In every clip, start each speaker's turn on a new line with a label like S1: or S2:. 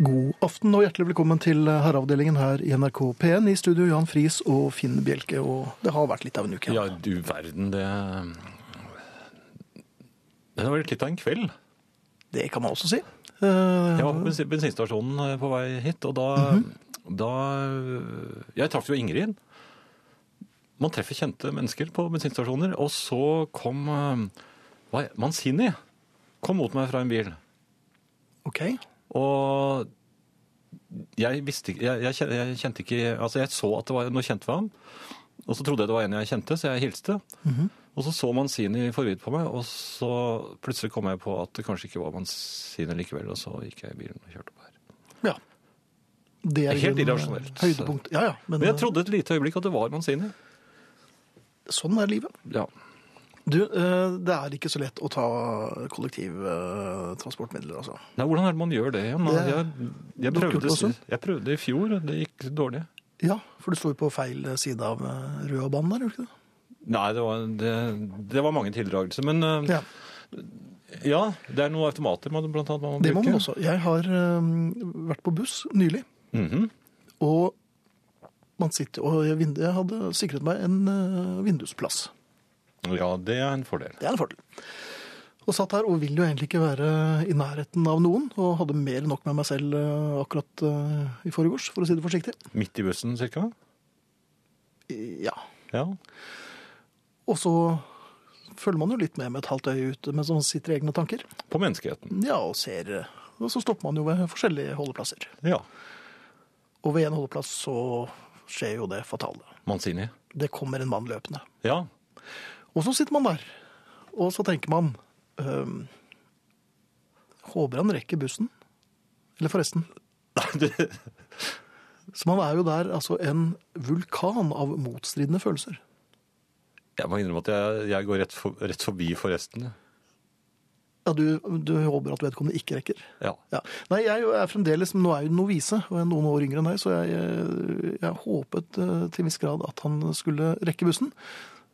S1: God aften og hjertelig velkommen til eh, herreavdelingen her i NRK P1. I studio Jan Friis og Finn Bjelke. Og det har vært litt av en uke.
S2: Ja, du verden, det Det har vært litt av en kveld.
S1: Det kan man også si.
S2: Jeg
S1: Eh,
S2: var på bensin- bensinstasjonen eh, på vei hit, og da, da Jeg traff jo Ingrid. Man treffer kjente mennesker på bensinstasjoner, og så kom eh, hva, er- Manzini kom mot meg fra en bil.
S1: Ok.
S2: Og jeg visste ikke jeg, jeg, kjen- jeg kjente ikke Altså, jeg så at det var noe kjent ved ham. Og så trodde jeg det var en jeg kjente, så jeg hilste.
S1: Mhm.
S2: Og så så Manzini forvirret på meg, og så plutselig kom jeg på at det kanskje ikke var Manzini likevel, og så gikk jeg i bilen og kjørte på her.
S1: Ja. Det
S2: er
S1: i
S2: helt
S1: grunnen
S2: irrasjonelt.
S1: Høydepunkt. Ja, ja. Men,
S2: Men jeg trodde et lite øyeblikk at det var Manzini.
S1: eh, sånn er livet.
S2: Ja.
S1: Du, eh, det er ikke så lett å ta kollektivtransportmidler, altså.
S2: Nei, hvordan er det man gjør det igjen?
S1: Det-
S2: Jeg, jeg,
S1: dukker opp
S2: prøvde,
S1: også.
S2: jeg prøvde i fjor, det gikk dårlig.
S1: Ja, for du står jo på feil side av eh, Røabanen der, gjør du ikke det?
S2: Nei, det var, det, det var mange tildragelser. Men øh, ja.
S1: Ja.
S2: det er noen automater man blant annet man må
S1: Det må
S2: bruke.
S1: man også. Jeg har eh, vært på buss nylig,
S2: Mhm.
S1: og man sitter, og jeg, vind- jeg hadde sikret meg en eh, vindusplass.
S2: Ja, det er en fordel.
S1: Det er en fordel. Og satt her, og vil jo egentlig ikke være i nærheten av noen, og hadde mer enn nok med meg selv eh, akkurat eh, i forgårs, for å si det forsiktig.
S2: Midt i bussen, cirka?
S1: Ja.
S2: Ja.
S1: Og så følger man jo litt med med et halvt øye ute, mens man sitter i egne tanker.
S2: På menneskeheten.
S1: Ja, og ser eh, Og så stopper man jo ved forskjellige holdeplasser.
S2: Ja.
S1: Og ved en holdeplass så skjer jo det fatale.
S2: Manzini.
S1: Det kommer en mann løpende.
S2: Ja.
S1: Og så sitter man der, og så tenker man ehm, Håper han rekker bussen. Eller forresten.
S2: Det-
S1: Så man er jo der altså en vulkan av motstridende følelser.
S2: Jeg må innrømme at jeg, jeg går rett, for, rett forbi forresten.
S1: Ja, du, du håper at vedkommende ikke rekker.
S2: Ja.
S1: Ja. Nei, jeg er fremdeles Nå er jeg jo novise, og jeg er noen år yngre enn deg, så jeg, eh, jeg håpet eh, til en viss grad at han skulle rekke bussen.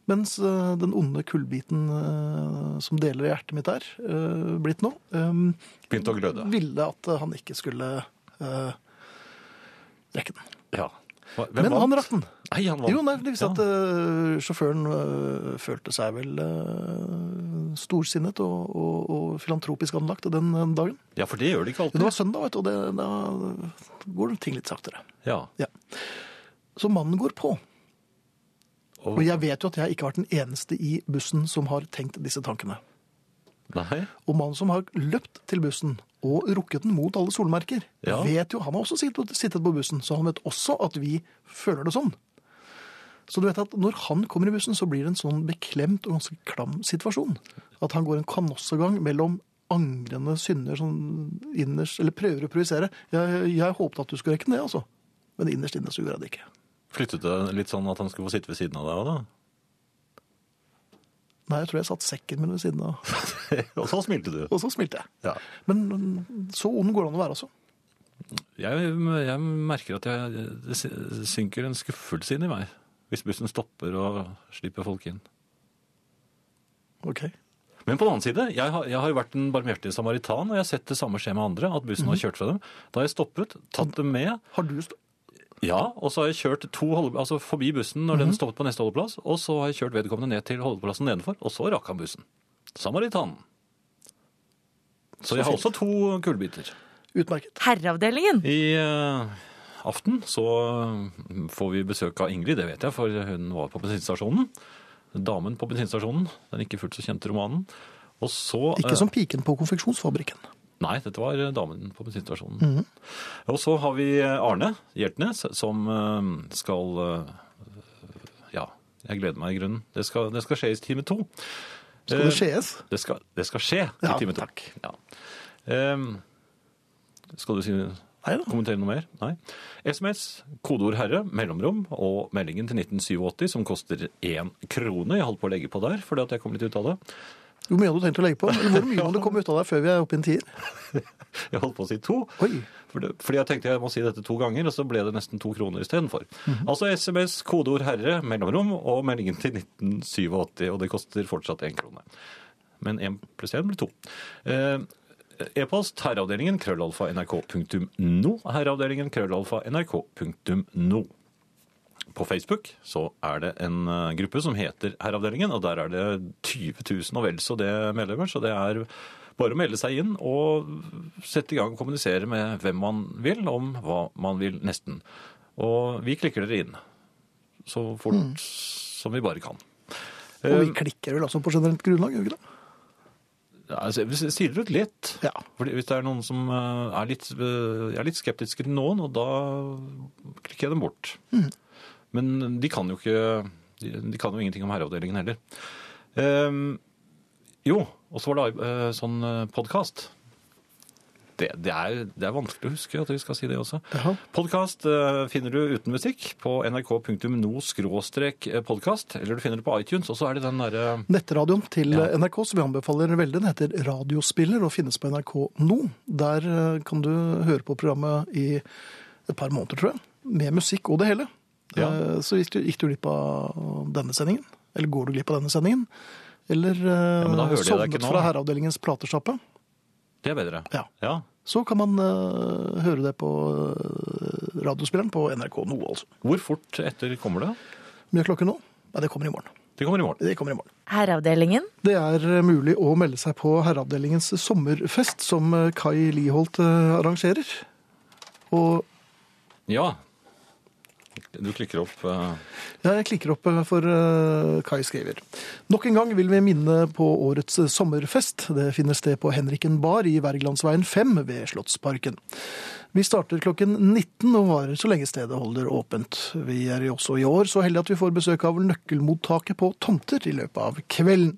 S1: Mens eh, den onde kullbiten eh, som deler hjertet mitt er, eh, blitt nå, eh,
S2: Begynte å gløde.
S1: ville at eh, han ikke skulle eh, rekke den.
S2: Ja. Hva- Hvem
S1: Men
S2: vant?
S1: han rakk den.
S2: Nei, han vant.
S1: Jo, nei, det visste
S2: Ja.
S1: at eh, sjåføren eh, følte seg vel eh, storsinnet og, og, og filantropisk anlagt den eh, dagen.
S2: Ja, for det gjør det ikke
S1: Men det
S2: alltid.
S1: var søndag, vet du, og det, da går det ting litt saktere.
S2: Ja.
S1: Ja. Så mannen går på.
S2: Og,
S1: Og jeg vet jo at jeg ikke har vært den eneste i bussen som har tenkt disse tankene.
S2: Nei.
S1: Og mannen som har løpt til bussen og rukket den mot alle solmerker,
S2: Ja.
S1: vet jo, han har også sittet, sittet på bussen, så han vet også at vi føler det sånn. Så du vet at når han kommer i bussen, så blir det en sånn beklemt og ganske klam situasjon. At han går en kanossegang mellom angrende synder som innerst, eller prøver å projisere. Jeg, jeg håpet at du skulle rekke den det, altså. Men innerst inne så gjorde jeg det ikke.
S2: Flyttet det litt sånn at han skulle få sitte ved siden av deg òg, da?
S1: Nei, jeg tror jeg satt sekken min ved siden av,
S2: og så smilte du.
S1: og så smilte jeg.
S2: Ja.
S1: Men mm, så ond går det an å være, altså.
S2: Jeg, jeg merker at jeg, det sy- synker en skuffelse inn i meg hvis bussen stopper og slipper folk inn.
S1: Ok.
S2: Men på den annen side, jeg har, jeg har jo vært en barmhjertig samaritan, og jeg har sett det samme skje med andre, at bussen har kjørt fra dem. Da har jeg stoppet, tatt dem med,
S1: Har du... St
S2: ja, og så har jeg kjørt to holde, altså forbi bussen når den stoppet på neste holdeplass, og så har jeg kjørt vedkommende ned til holdeplassen nedenfor, og så rakk han bussen. Samaritanen. Så, jeg har
S1: fint.
S2: også to kullbiter.
S1: Utmerket.
S3: Herreavdelingen.
S2: I eh, aften så eh, får vi besøk av Ingrid, det vet jeg, for hun var på bensinstasjonen. Damen på bensinstasjonen, den ikke fullt så kjente romanen. Og så eh,
S1: Ikke som piken på konfeksjonsfabrikken.
S2: Nei, dette var damen på bensinstasjonen.
S1: Mhm.
S2: Og så har vi eh, Arne Hjeltnes, som eh, skal eh, Ja, jeg gleder meg i grunnen. Det skal, det skal skje i time to.
S1: Skal
S2: Eh,
S1: det skjes?
S2: Det skal, det skal skje i
S1: Ja,
S2: time to.
S1: takk.
S2: Ja. Ehm, skal du si,
S1: Nei da.
S2: kommentere noe mer? Nei. SMS, kodeord 'herre', mellomrom og meldingen til 1987 som koster én krone. Jeg holdt på å legge på der fordi at jeg kom litt ut av det.
S1: Hvor mye hadde du tenkt å legge på? Eller Hvor mye må du komme ut av deg før vi er oppe i en tier?
S2: Jeg holdt på å si to.
S1: Oi.
S2: For det, fordi jeg tenkte jeg må si dette to ganger, og så ble det nesten to kroner istedenfor. Altså SMS, kodeord 'herre', mellomrom og meldingen til 1987, og det koster fortsatt én krone. Men én pluss én blir to. Eh, E-post herreavdelingen krøllalfa nrk.no. Herreavdelingen krøllalfa nrk.no. På Facebook så er det en eh, gruppe som heter Herreavdelingen, og der er det 20 000 og vel så det medlemmer. Så det er bare å melde seg inn og sette i gang og kommunisere med hvem man vil, om hva man vil, nesten. Og vi klikker dere inn så fort som vi bare kan.
S1: Mm.
S2: Eh,
S1: Og vi klikker vel altså på generelt grunnlag, gjør vi ikke det?
S2: Ja, Altså, hvis jeg siler ut litt.
S1: Ja.
S2: Fordi hvis det er noen som eh, er litt, eh, jeg er litt skeptiske til noen, og da klikker jeg dem bort.
S1: Mm.
S2: Men de kan jo ikke De, de kan jo ingenting om herreavdelingen heller. Ehm, jo, og så var det eh, sånn podkast. Det, det, er, det er vanskelig å huske at vi skal si det også.
S1: Jaha.
S2: Podkast finner du uten musikk på nrk.no-podkast, eh, eller du finner det på iTunes, og så er det den derre
S1: Nettradioen til
S2: Ja.
S1: eh, NRK, som vi anbefaler veldig, den heter Radiospiller og finnes på NRK nå. Der eh, kan du høre på programmet i et par måneder, tror jeg. Med musikk og det hele.
S2: Ja.
S1: Eh, Så gikk du, gikk du glipp av denne sendingen. Eller går du glipp av denne sendingen? Eller eh,
S2: men da hører de deg
S1: sovnet
S2: ikke nå,
S1: fra
S2: da.
S1: Herreavdelingens platesjappe.
S2: Det er bedre.
S1: Ja.
S2: ja.
S1: Så kan man eh, høre det på eh, radiospilleren på NRK nå, altså.
S2: Hvor fort etter kommer det?
S1: Hvor mye er klokken nå? Nei, det kommer i morgen.
S2: Det kommer i morgen.
S1: Det kommer i morgen.
S3: Herreavdelingen.
S1: Det er eh, mulig å melde seg på Herreavdelingens sommerfest, som Kai Liholt eh, arrangerer. Og
S2: Ja. Du klikker opp eh,
S1: jeg klikker opp eh, for eh, Kai skriver. Nok en gang vil vi minne på årets eh, sommerfest. Det finner sted på Henriken bar i Wergelandsveien 5 ved Slottsparken. Vi starter klokken 19 og varer så lenge stedet holder åpent. Vi er jo også i år så heldige at vi får besøk av nøkkelmottaket på Tomter i løpet av kvelden.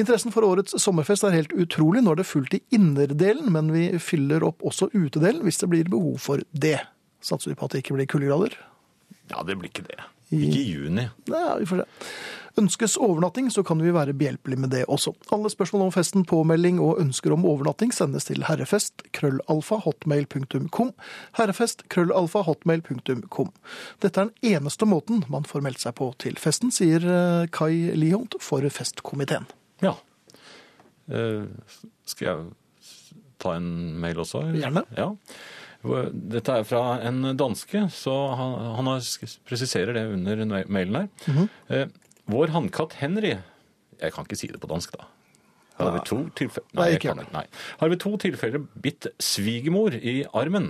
S1: Interessen for årets sommerfest er helt utrolig. Nå er det fullt i innerdelen, men vi fyller opp også utedelen hvis det blir behov for det. Satser vi på at det ikke blir kuldegrader?
S2: Ja, det blir ikke det. Ikke i juni.
S1: Ja, vi får se. Ønskes overnatting, så kan vi være behjelpelige med det også. Alle spørsmål om festen, påmelding og ønsker om overnatting sendes til herrefest krøllalfa hotmail.com. Herrefest krøllalfa hotmail.com. Dette er den eneste måten man får meldt seg på til festen, sier eh, Kai Lihont for festkomiteen.
S2: Ja. Eh, skal jeg ta en mail også? eller?
S1: Gjerne.
S2: Ja. Hvor- Dette er fra en danske, så han, han har, sk- presiserer det under ma- mailen her. Eh, vår hannkatt Henry Jeg kan ikke si det på dansk, da. Har ved to tilfeller
S1: Nei,
S2: Nei, jeg
S1: ikke
S2: kan
S1: gjør
S2: ikke. Nei. Har ved to tilfeller bitt svigermor i armen.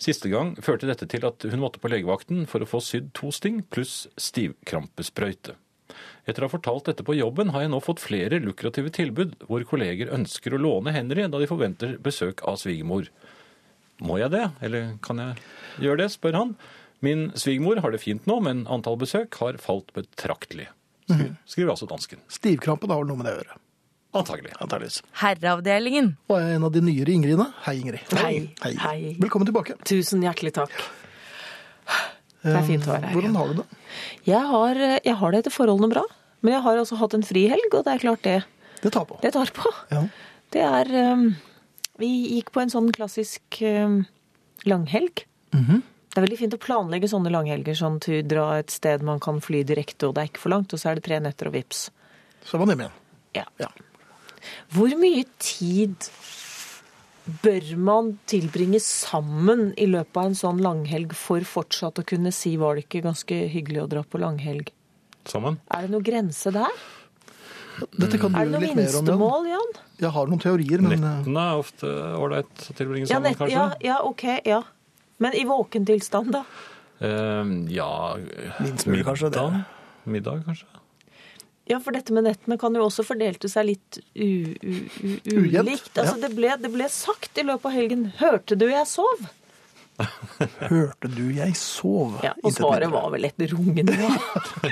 S2: Siste gang førte dette til at hun måtte på legevakten for å få sydd to sting pluss stivkrampesprøyte. Etter å ha fortalt dette på jobben, har jeg nå fått flere lukrative tilbud hvor kolleger ønsker å låne Henry da de forventer besøk av svigermor. Må jeg det, eller kan jeg gjøre det, spør han. Min svigermor har det fint nå, men antall besøk har falt betraktelig. Skriver, skriver altså dansken.
S1: Stivkrampen har vel noe med det å gjøre.
S2: Antagelig.
S1: Antageligvis.
S3: Herreavdelingen.
S1: Og jeg er en av de nyere Ingridene. Hei, Ingrid.
S4: Hei. Hei.
S1: Velkommen tilbake.
S4: Tusen hjertelig takk. Det er fint å være
S1: Eh,
S4: her igjen.
S1: Hvordan har du det?
S4: Jeg har, jeg har det etter forholdene bra, men jeg har også hatt en frihelg, og det er klart det,
S1: Det tar på.
S4: det tar på.
S1: Ja.
S4: Det er um, Vi gikk på en sånn klassisk um, langhelg. Det er veldig fint å planlegge sånne langhelger, sånn at du drar et sted man kan fly direkte, og det er ikke for langt, og så er det tre netter og vips.
S1: Så er man hjemme igjen.
S4: Ja.
S1: Ja.
S4: Hvor mye tid bør man tilbringe sammen i løpet av en sånn langhelg for fortsatt å kunne si var det ikke ganske hyggelig å dra på langhelg?
S2: Sammen.
S4: Er det noe grense der?
S1: Dette kan du
S4: Mm. Er det
S1: jo
S4: noe
S1: litt mer om, Jan.
S4: minstemål, Jan?
S1: Jeg har noen teorier, men eh,
S2: Nettene er ofte ålreit å tilbringe
S4: Ja,
S2: sammen,
S4: nett,
S2: kanskje.
S4: ja, ja, ok, ja. Men i våken tilstand, da?
S2: Eh, ja eh,
S1: Minst mulig, kanskje, det.
S2: middag. Middag, kanskje.
S4: Ja, for dette med nettene kan jo også fordelte seg litt u, u, u,
S1: Ujevnt,
S4: ulikt. Altså,
S1: ja.
S4: det, ble, det ble sagt i løpet av helgen 'Hørte du jeg sov?'
S1: eh, hørte du jeg sov?
S4: Ja, og
S1: Intet
S4: svaret
S1: mindre.
S4: var vel et rungende ja.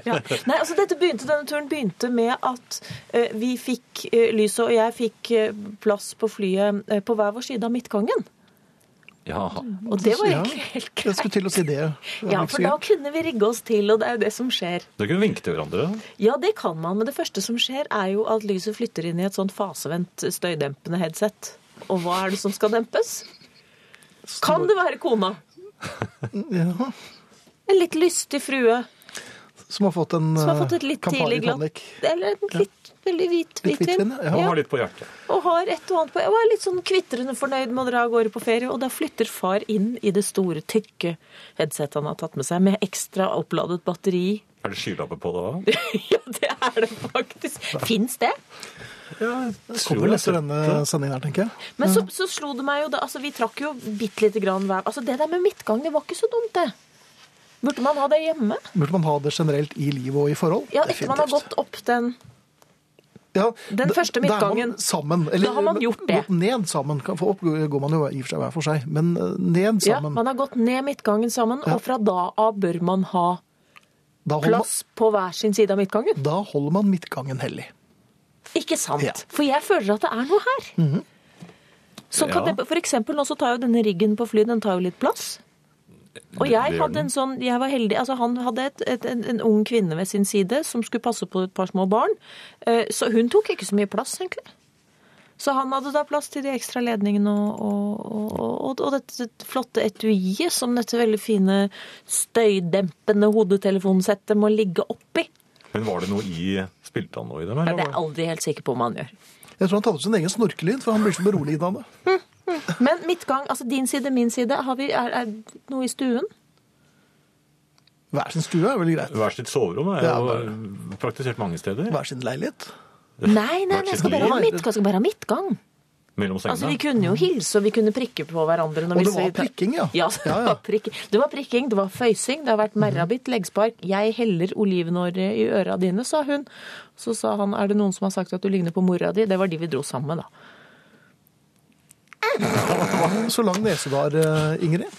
S4: ja. Nei, altså dette begynte, Denne turen begynte med at eh, vi fikk, eh, Lyset og jeg fikk eh, plass på flyet eh, på hver vår side av midtgangen.
S2: Ja,
S4: Og det var
S1: Ja.
S4: egentlig helt
S1: Jeg
S4: greit.
S1: skulle til å si det. Det
S4: Ja,
S1: var ikke så
S4: for da
S1: gøy.
S4: kunne vi rigge oss til, og det er jo det som skjer.
S2: Dere kunne vinke til hverandre.
S4: Ja, det kan man, men det første som skjer er jo at lyset flytter inn i et sånt fasevendt støydempende headset. Og hva er det som skal dempes? Kan det være kona?
S1: Ja,
S4: En litt lystig frue?
S1: som har fått en
S4: Som har fått et
S1: eh,
S4: litt
S1: Campari
S4: tidlig glatt
S1: tonic.
S4: Eller en litt veldig hvit
S1: Litt hvitvin,
S4: hvitvin.
S1: ja.
S2: Og har litt på hjertet.
S4: Og har et og annet på Og er litt sånn kvitrende fornøyd med å dra av gårde på ferie. Og da flytter far inn i det store, tykke headsetet han har tatt med seg, med ekstra oppladet batteri.
S2: Er det skylapper på det òg?
S4: ja, det er det faktisk. Fins det?
S2: Ja,
S1: Det kommer vel etter denne sendingen her, tenker jeg.
S4: Men så, så slo det meg jo da Altså, vi trakk jo bitte lite grann hver Altså, det der med midtgang, det var ikke så dumt, det. Burde man ha det hjemme?
S1: Burde man ha det generelt i livet og i forhold?
S4: Ja, etter man har gått opp den
S1: Ja,
S4: Den
S1: da- Da
S4: første
S1: er
S4: midtgangen.
S1: man sammen. Eller,
S4: Da har man gjort det.
S1: Gått ned sammen. Kan- For opp går man jo i og for seg hver for seg, men eh, ned
S4: Ja,
S1: sammen.
S4: man har gått ned midtgangen sammen, og fra da av bør man ha
S1: da, holder man,
S4: plass på hver sin side av midtgangen.
S1: da holder man midtgangen hellig.
S4: Ikke sant?
S1: Ja.
S4: For jeg føler at det er noe her. Så kan
S2: Mhm. Ja.
S4: det, for eksempel nå så tar jo denne riggen på fly, den tar jo litt plass. Og
S2: Det-
S4: jeg
S2: det gjør
S4: hadde
S2: den.
S4: en sånn, jeg var heldig, altså han hadde et, et, en, en ung kvinne ved sin side som skulle passe på et par små barn. Eh, Så hun tok ikke så mye plass, egentlig. Så han hadde da plass til de ekstra ledningene og, og, og, og, og dette flotte etuiet som dette veldig fine støydempende hodetelefonsettet må ligge oppi.
S2: Men var det noe i Spilte han noe i dem?
S4: Det er
S2: Eller?
S4: jeg aldri helt sikker på om han gjør.
S1: Jeg tror han talte sin egen snorkelyd, for han blir så beroliget av det.
S4: Men midtgang, altså din side, min side, har vi, er, er noe i stuen?
S1: Hver sin stue er vel greit.
S2: Hver sitt soverom er
S1: Ja,
S2: jo praktisert mange steder.
S1: Hver sin leilighet.
S4: Nei, nei, nei, jeg skal bare ha,
S1: Nei,
S4: midt,
S1: det-
S4: jeg skal bare ha midtgang.
S2: Mellom
S4: Altså,
S2: sengene.
S4: Vi kunne jo hilse, og vi kunne prikke på hverandre. Når
S1: Og
S4: vi
S1: det var
S4: så-
S1: prikking, ja.
S4: ja, så
S1: Ja,
S4: det,
S1: ja.
S4: var prikking. det var prikking, det var føysing, det har vært merrabitt, leggspark. Jeg heller olivenåret i øra dine, sa hun. Så sa han, er det noen som har sagt at du ligner på mora di? Det var de vi dro sammen med, da.
S1: Så lang nese du har, eh, Ingrid.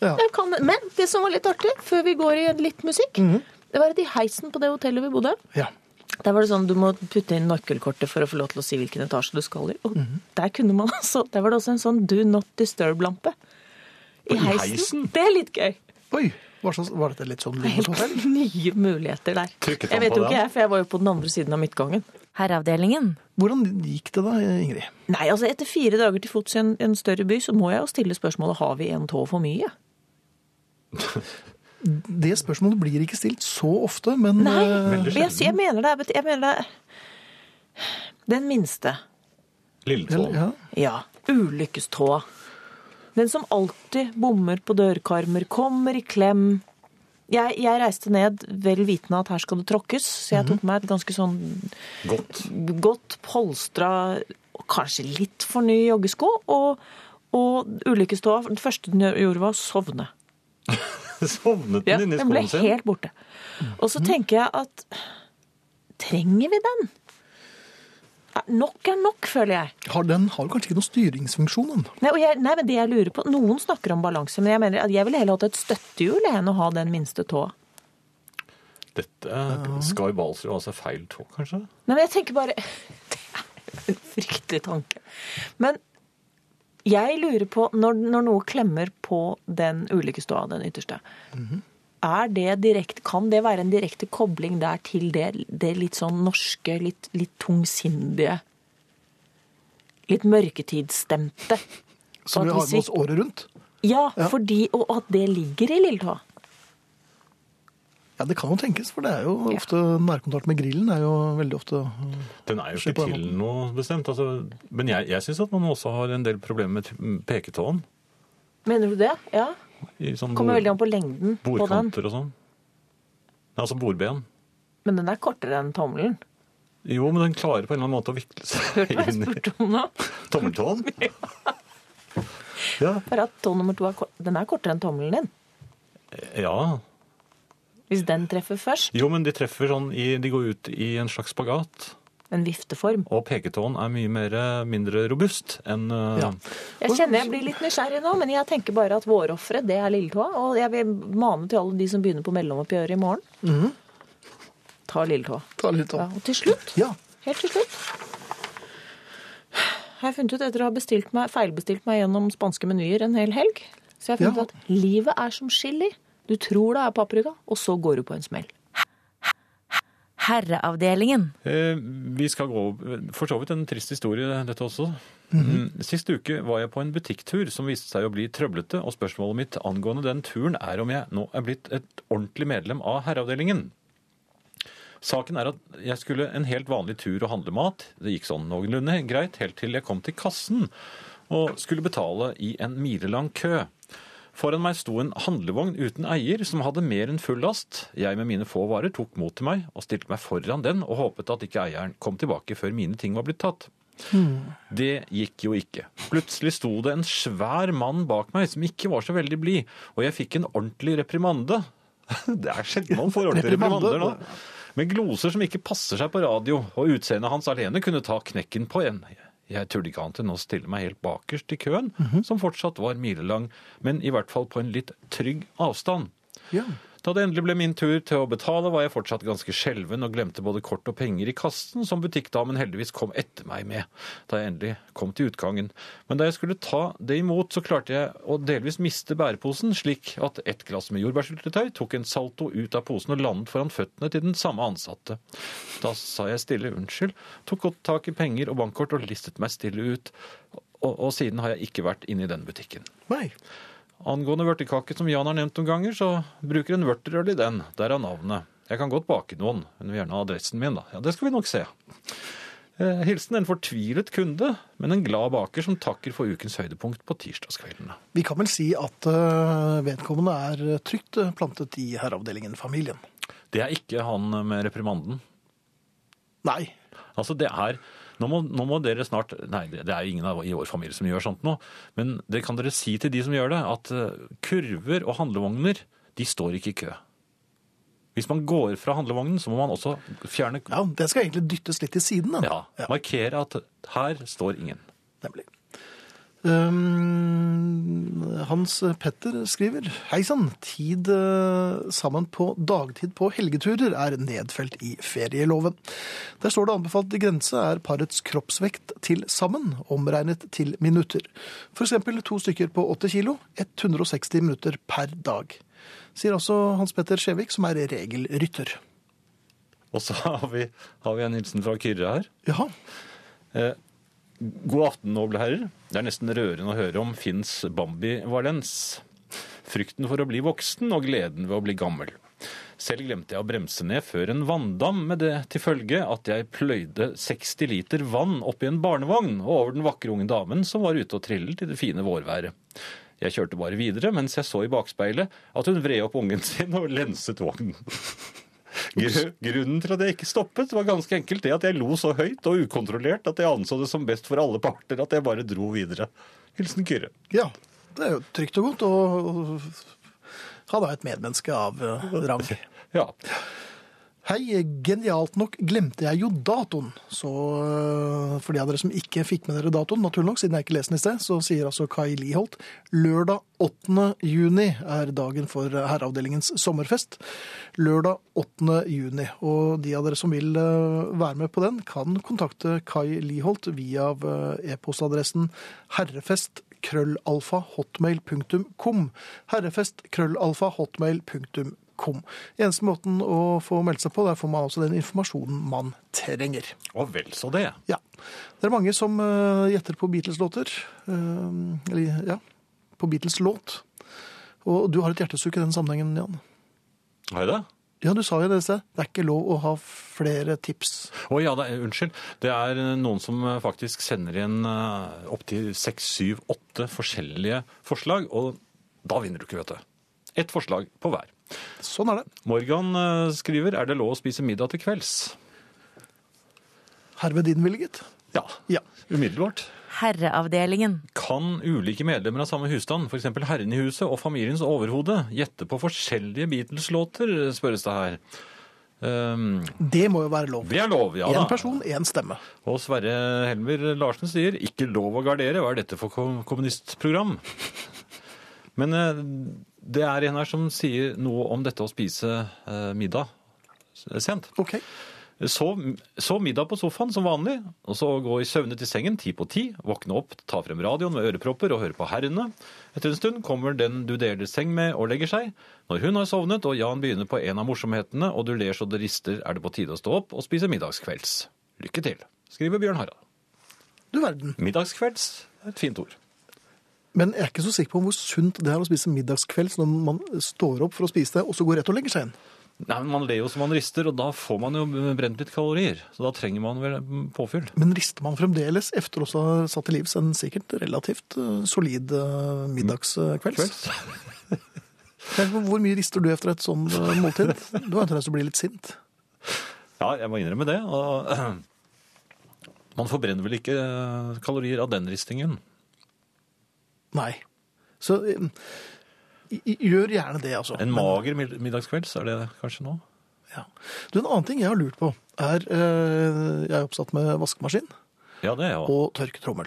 S1: Ja.
S4: Jeg kan, men det som var litt artig, før vi går i litt musikk,
S1: Mhm.
S4: det var at i heisen på det hotellet vi bodde,
S1: ja.
S4: Der var det sånn, Du må putte inn nøkkelkortet for å få lov til å si hvilken etasje du skal i. Og
S2: Mhm.
S4: der kunne man altså, der var det også en sånn Do Not Disturb-lampe. I
S2: I
S4: heisen.
S2: heisen?
S4: Det er litt gøy.
S1: Oi, var, så, var dette litt sånn
S4: Helt
S1: lunt hotell?
S4: nye muligheter der.
S2: Trykket han
S4: jeg vet
S2: på
S4: jo ikke,
S2: den?
S4: jeg, for jeg var jo på den andre siden av midtgangen.
S3: Herreavdelingen.
S1: Hvordan gikk det da, Ingrid?
S4: Nei, altså Etter fire dager til fots i en, en større by, så må jeg jo stille spørsmålet har vi en tå for mye.
S1: Det spørsmålet blir ikke stilt så ofte, men
S4: Nei,
S1: eh,
S4: men jeg, jeg mener det er jeg mener det er- Den minste.
S2: Lilletåen.
S1: ja.
S4: Ja. Ulykkeståa. Den som alltid bommer på dørkarmer, kommer i klem. Jeg, jeg reiste ned vel vitende at her skal det tråkkes, så jeg
S2: Mhm.
S4: tok meg et ganske sånn
S2: Godt.
S4: godt polstra, og kanskje litt for nye joggesko, og, og ulykkeståa Det første den gjorde, var å sovne.
S2: Sovnet
S4: Ja,
S2: den inni
S4: den ble
S2: skoen sin? Mhm.
S4: helt borte. Og så tenker jeg at trenger vi den? Er- Nok er nok, føler jeg.
S1: har, den har jo kanskje ikke noen styringsfunksjon. den.
S4: Nei, og jeg, nei, men det jeg lurer på, Noen snakker om balanse, men jeg mener at jeg ville heller hatt et støttehjul jeg, enn å ha den minste tåa.
S2: Dette Sky Balsrud altså feil tog, kanskje?
S4: Nei, men jeg tenker bare Det er en fryktelig tanke. Men jeg lurer på, når, når noe klemmer på den ulykkeståa, den ytterste er det direkte, Kan det være en direkte kobling der til det, det litt sånn norske, litt, litt tungsindige Litt mørketidsstemte?
S1: Som vi
S4: Og at
S1: har
S4: hvis
S1: med oss året rundt.
S4: Ja,
S1: Ja.
S4: fordi, og at det ligger i lilletåa.
S1: Ja, Det kan jo tenkes, for det er jo
S4: Ja.
S1: ofte nærkontakt med grillen. er jo veldig ofte... eh,
S2: Den er jo
S1: Slipp
S2: ikke
S1: den
S2: til noe bestemt. Altså, men jeg, jeg syns at man også har en del problemer med t- peketåen.
S4: Mener du det? Ja.
S2: I sånn
S4: Kommer
S2: bord-
S4: veldig an på lengden på den.
S2: bordkanter og sånn. Nei, Altså bordben.
S4: Men den er kortere enn tommelen.
S2: Jo, men den klarer på en eller annen måte å vikle seg
S4: Hørte du hva jeg
S2: inn i
S4: spurte om nå?
S2: tommeltåen. Ja.
S4: Bare at tå nummer to er, kort, den er kortere enn tommelen din.
S2: ja.
S4: Hvis den treffer først.
S2: Jo, men de treffer sånn i De går ut i en slags spagat.
S4: En vifteform.
S2: Og peketåen er mye mer, mindre robust enn eh,
S1: Ja.
S4: Jeg kjenner jeg blir litt nysgjerrig nå, men jeg tenker bare at vårofferet, det er lilletåa. Og jeg vil mane til alle de som begynner på mellomoppgjøret i morgen. Ta lilletåa.
S1: Ta litt
S4: Ja,
S1: av.
S4: og til slutt,
S1: Ja.
S4: helt til slutt har jeg funnet ut etter å ha bestilt meg, feilbestilt meg gjennom spanske menyer en hel helg. Så jeg har funnet
S1: Ja.
S4: ut at livet er som chili. Du tror det er paprika, og så går du på en smell.
S3: Herreavdelingen.
S2: Eh, Vi skal gå over- For så vidt en trist historie, dette også. Mm, Sist uke var jeg på en butikktur som viste seg å bli trøblete, og spørsmålet mitt angående den turen er om jeg nå er blitt et ordentlig medlem av herreavdelingen. Saken er at jeg skulle en helt vanlig tur og handle mat. Det gikk sånn noenlunde greit, helt til jeg kom til kassen og skulle betale i en milelang kø. Foran meg sto en handlevogn uten eier som hadde mer enn full last. Jeg med mine få varer tok mot til meg og stilte meg foran den og håpet at ikke eieren kom tilbake før mine ting var blitt tatt. Det gikk jo ikke. Plutselig sto det en svær mann bak meg som ikke var så veldig blid, og jeg fikk en ordentlig reprimande. Det er sjelden man får ordentlige
S1: Reprimande.
S2: reprimander nå. Med gloser som ikke passer seg på radio, og utseendet hans alene kunne ta knekken på en. Jeg turde ikke annet enn å stille meg helt bakerst i køen, som fortsatt var milelang, men i hvert fall på en litt trygg avstand.
S1: Ja.
S2: Da det endelig ble min tur til å betale, var jeg fortsatt ganske skjelven og glemte både kort og penger i kassen, som butikkdamen heldigvis kom etter meg med da jeg endelig kom til utgangen. Men da jeg skulle ta det imot, så klarte jeg å delvis miste bæreposen, slik at ett glass med jordbærsyltetøy tok en salto ut av posen og landet foran føttene til den samme ansatte. Da sa jeg stille unnskyld, tok godt tak i penger og bankkort og listet meg stille ut, og, og siden har jeg ikke vært inne i den butikken.
S1: Nei.
S2: Angående vørtekake, som Jan har nevnt noen ganger, så bruker en vørterøl i den. Der er navnet. Jeg kan godt bake noen, men vil gjerne ha adressen min, da. Ja, det skal vi nok se. Eh, Hilsen en fortvilet kunde, men en glad baker som takker for ukens høydepunkt på tirsdagskveldene.
S1: Vi kan vel si at øh, vedkommende er trygt øh, plantet i herreavdelingen familien.
S2: Det er ikke han med reprimanden.
S1: Nei.
S2: Altså, det er nå må, nå må dere snart Nei, det det er ingen av i vår familie som gjør sånt nå. Men det kan dere si til de som gjør det, at eh, kurver og handlevogner, de står ikke i kø. Hvis man går fra handlevognen, så må man også fjerne
S1: Ja, det skal egentlig dyttes litt til siden. den.
S2: Ja, markere at her står ingen.
S1: Nemlig. Um, Hans Petter skriver Hei sann, tid eh, sammen på dagtid på helgeturer er nedfelt i ferieloven. Der står det anbefalt grense er parets kroppsvekt til sammen, omregnet til minutter. F.eks. to stykker på 80 kilo, 160 minutter per dag. Sier også Hans Petter Skjevik, som er regelrytter.
S2: Og så har vi, har vi en hilsen fra Kyrre her.
S1: Jaha.
S2: Eh, God aften, noble herrer. Det er nesten rørende å høre om Finns Bambi Valens. Frykten for å bli voksen og gleden ved å bli gammel. Selv glemte jeg å bremse ned før en vanndam, med det til følge at jeg pløyde 60 liter vann oppi en barnevogn og over den vakre unge damen som var ute og trillet i det fine vårværet. Jeg kjørte bare videre mens jeg så i bakspeilet at hun vred opp ungen sin og lenset vognen. Gru- Grunnen til at jeg ikke stoppet, var ganske enkelt det at jeg lo så høyt og ukontrollert at jeg anså det som best for alle parter at jeg bare dro videre. Hilsen Kyrre.
S1: Ja, det er jo trygt og godt. Og han er et medmenneske av eh, rang.
S2: Ja.
S1: Hei, genialt nok glemte jeg jo datoen. Så øh, for de av dere som ikke fikk med dere datoen, naturlig nok, siden jeg ikke leste den i sted, så sier altså Kai Liholt lørdag 8. juni er dagen for herreavdelingens sommerfest. Lørdag 8. juni. Og de av dere som vil øh, være med på den, kan kontakte Kai Liholt via øh, e-postadressen herrefest krøllalfa hotmail.com. Herrefest krøllalfa hotmail.com. Eneste måten å få meldt seg på, der får man altså den informasjonen man trenger.
S2: Og vel så det.
S1: Ja. Det er mange som eh, gjetter på Beatles-låter. Eh, eller, ja, på Beatles-låt. Og du har et hjertesukk i den sammenhengen, Jan.
S2: Har jeg det?
S1: Ja, du sa jo det i sted. Det er ikke lov å ha flere tips.
S2: Å ja, det er, unnskyld. Det er eh, noen som eh, faktisk sender inn opptil seks, syv, åtte forskjellige forslag, og da vinner du ikke, vet du. Ett forslag på hver.
S1: Sånn er det.
S2: Morgan eh, skriver 'Er det lov å spise middag til kvelds'?
S1: Herved innvilget.
S2: Ja.
S1: Ja.
S2: Umiddelbart.
S3: Herreavdelingen.
S2: Kan ulike medlemmer av samme husstand, f.eks. herren i huset og familiens overhode, gjette på forskjellige Beatles-låter, spørres det her. Ehm,
S1: Det må jo være lov.
S2: det er lov, ja da.
S1: Én person, én stemme.
S2: Og Sverre Helmer Larsen sier 'ikke lov å gardere', hva er dette for kom- kommunistprogram? Men eh, det er en her som sier noe om dette å spise eh, middag s- sent.
S1: OK.
S2: Sov, sov middag på sofaen som vanlig, og så gå i søvne til sengen ti på ti, våkne opp, ta frem radioen med ørepropper og høre på herrene. Etter en stund kommer den du deler seng med og legger seg. Når hun har sovnet og Jan begynner på en av morsomhetene, og du ler så det rister, er det på tide å stå opp og spise middagskvelds. Lykke til, skriver Bjørn Harald.
S1: Du verden.
S2: Middagskvelds er et fint ord.
S1: Men jeg er ikke så sikker på hvor sunt det er å spise middagskvelds når man står opp for å spise det, og så går rett og legger seg igjen.
S2: Nei, men Man ler jo som man rister, og da får man jo brent litt kalorier. Så da trenger man vel påfyll.
S1: Men rister man fremdeles efter å ha satt til livs en sikkert relativt eh, solid eh, middagskvelds?
S2: Kvelds.
S1: Tenk på Hvor mye rister du efter et sånn eh, måltid? Du har en tendens til å bli litt sint.
S2: Ja, jeg må innrømme det. Og man forbrenner vel ikke eh, kalorier av den ristingen.
S1: Nei. Så eh, i- i- gjør gjerne det, altså.
S2: En mager mid- middagskvelds er det kanskje nå?
S1: Ja. Du, en annen ting jeg har lurt på, er eh, Jeg er oppsatt med vaskemaskin
S2: Ja, det er jeg. også.
S1: og tørketrommel.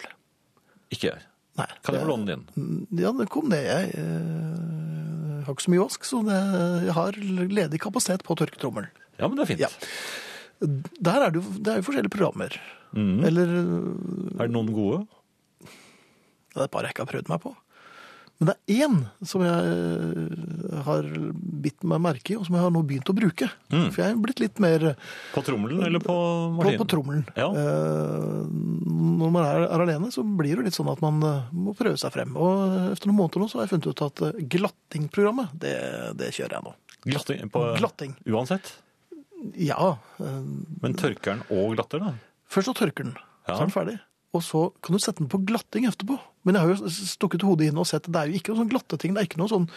S2: Ikke jeg.
S1: Nei.
S2: Kan jeg få låne din?
S1: Ja, det kom det. Jeg eh, har ikke så mye vask, så det, jeg har ledig kapasitet på tørketrommel.
S2: Ja, men det er fint.
S1: Ja. Der er det, jo, det er jo forskjellige programmer.
S2: Mhm.
S1: Eller eh,
S2: Er det noen gode?
S1: det er et par jeg ikke har prøvd meg på. Men det er én som jeg eh, har bitt meg merke i, og som jeg har nå begynt å bruke.
S2: Mhm.
S1: For jeg er blitt litt mer
S2: På trommelen eller på
S1: på,
S2: maskinen?
S1: på trommelen.
S2: Ja.
S1: Eh, når man er, er alene, så blir det litt sånn at man eh, må prøve seg frem. Og etter noen måneder nå så har jeg funnet ut at eh, glattingprogrammet, det, det kjører jeg nå.
S2: Glatting, på,
S1: Glatting.
S2: Uansett.
S1: Ja. eh,
S2: Men tørker den og glatter, da?
S1: Først så tørker den,
S2: Ja.
S1: så er den ferdig. Og så kan du sette den på glatting etterpå. Men jeg har jo stukket hodet inn og sett at det er jo ikke noe sånn glatte ting. Det er ikke noe sånn,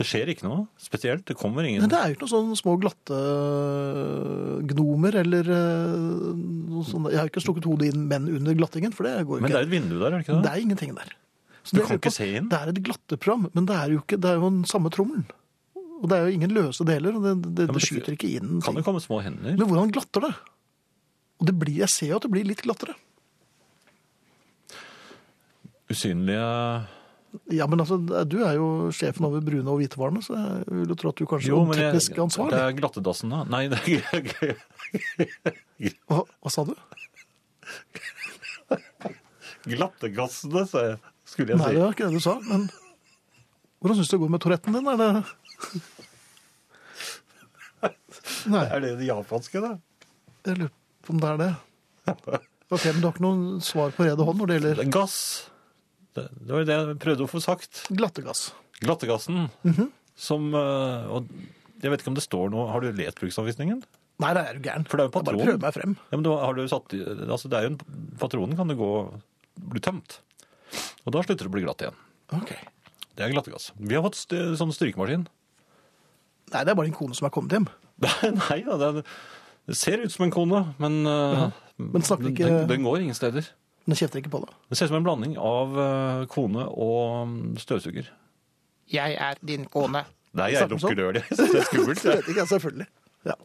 S2: Det skjer ikke noe spesielt. Det kommer
S1: Nei,
S2: ingen
S1: det er jo ikke noe sånn små glatte øh, gnomer eller eh, noe sånt. Jeg har jo ikke stukket hodet inn, men under glattingen, for det går jo
S2: Men det
S1: ikke.
S2: er et vindu der, er det ikke
S1: Det
S2: det?
S1: er ingenting der. Så
S2: Du
S1: det jeg
S2: kan
S1: lurer på-
S2: ikke se inn?
S1: Det er et glatteprogram, men det er jo ikke, det er jo den samme trommelen. Og det er jo ingen løse deler, og det, det,
S2: men
S1: det
S2: det-
S1: skyter ikke inn.
S2: Kan
S1: ting.
S2: det komme små hender?
S1: Men hvordan glatter det? Og det blir, jeg ser jo at det blir litt glattere.
S2: Usynlige
S1: Ja, men altså, du er jo sjefen over brune og hvitevarene, så jeg vil jo tro at du kanskje er
S2: men jeg-
S1: teknisk ansvarlig.
S2: Det er glattedassen, da. Nei, det er ikke
S1: Hva, hva sa du?
S2: Glattegassene, sa jeg. Skulle
S1: Nei, det var ikke det du sa, men hvordan synes du det går med Touretten din, er det? Nei,
S2: Er det det japanske, da?
S1: jeg lurer på om det er det. Ok, men du har ikke noen svar på rede hånd når det gjelder
S2: Gass. Det, det var jo det jeg prøvde å få sagt.
S1: glattegass.
S2: Glattegassen
S1: Mhm.
S2: som eh, Og jeg vet ikke om det står noe Har du lest bruksanvisningen?
S1: Nei, det er jo gæren.
S2: For det er jo
S1: Jeg bare
S2: patron.
S1: prøver meg frem.
S2: Ja, men da har du satt i- Altså, det er jo en Patronen kan det gå bli tømt. Og da slutter det å bli glatt igjen.
S1: Ok.
S2: Det er glattegass. Vi har fått st sånn strykemaskin.
S1: Nei, det er bare din kone som er kommet hjem.
S2: Nei, nei da, det, er, det ser ut som en kone, men, eh,
S1: Men snakker
S2: den-
S1: ikke-
S2: den, den går ingen steder.
S1: Men jeg kjefter ikke på det.
S2: Det ser ut som en blanding av eh, kone og mm, støvsuger.
S5: Jeg er din kone.
S2: Nei,
S1: jeg lukker
S2: døren. Det er skummelt.
S1: Jeg vet ikke, ja, selvfølgelig. Ja.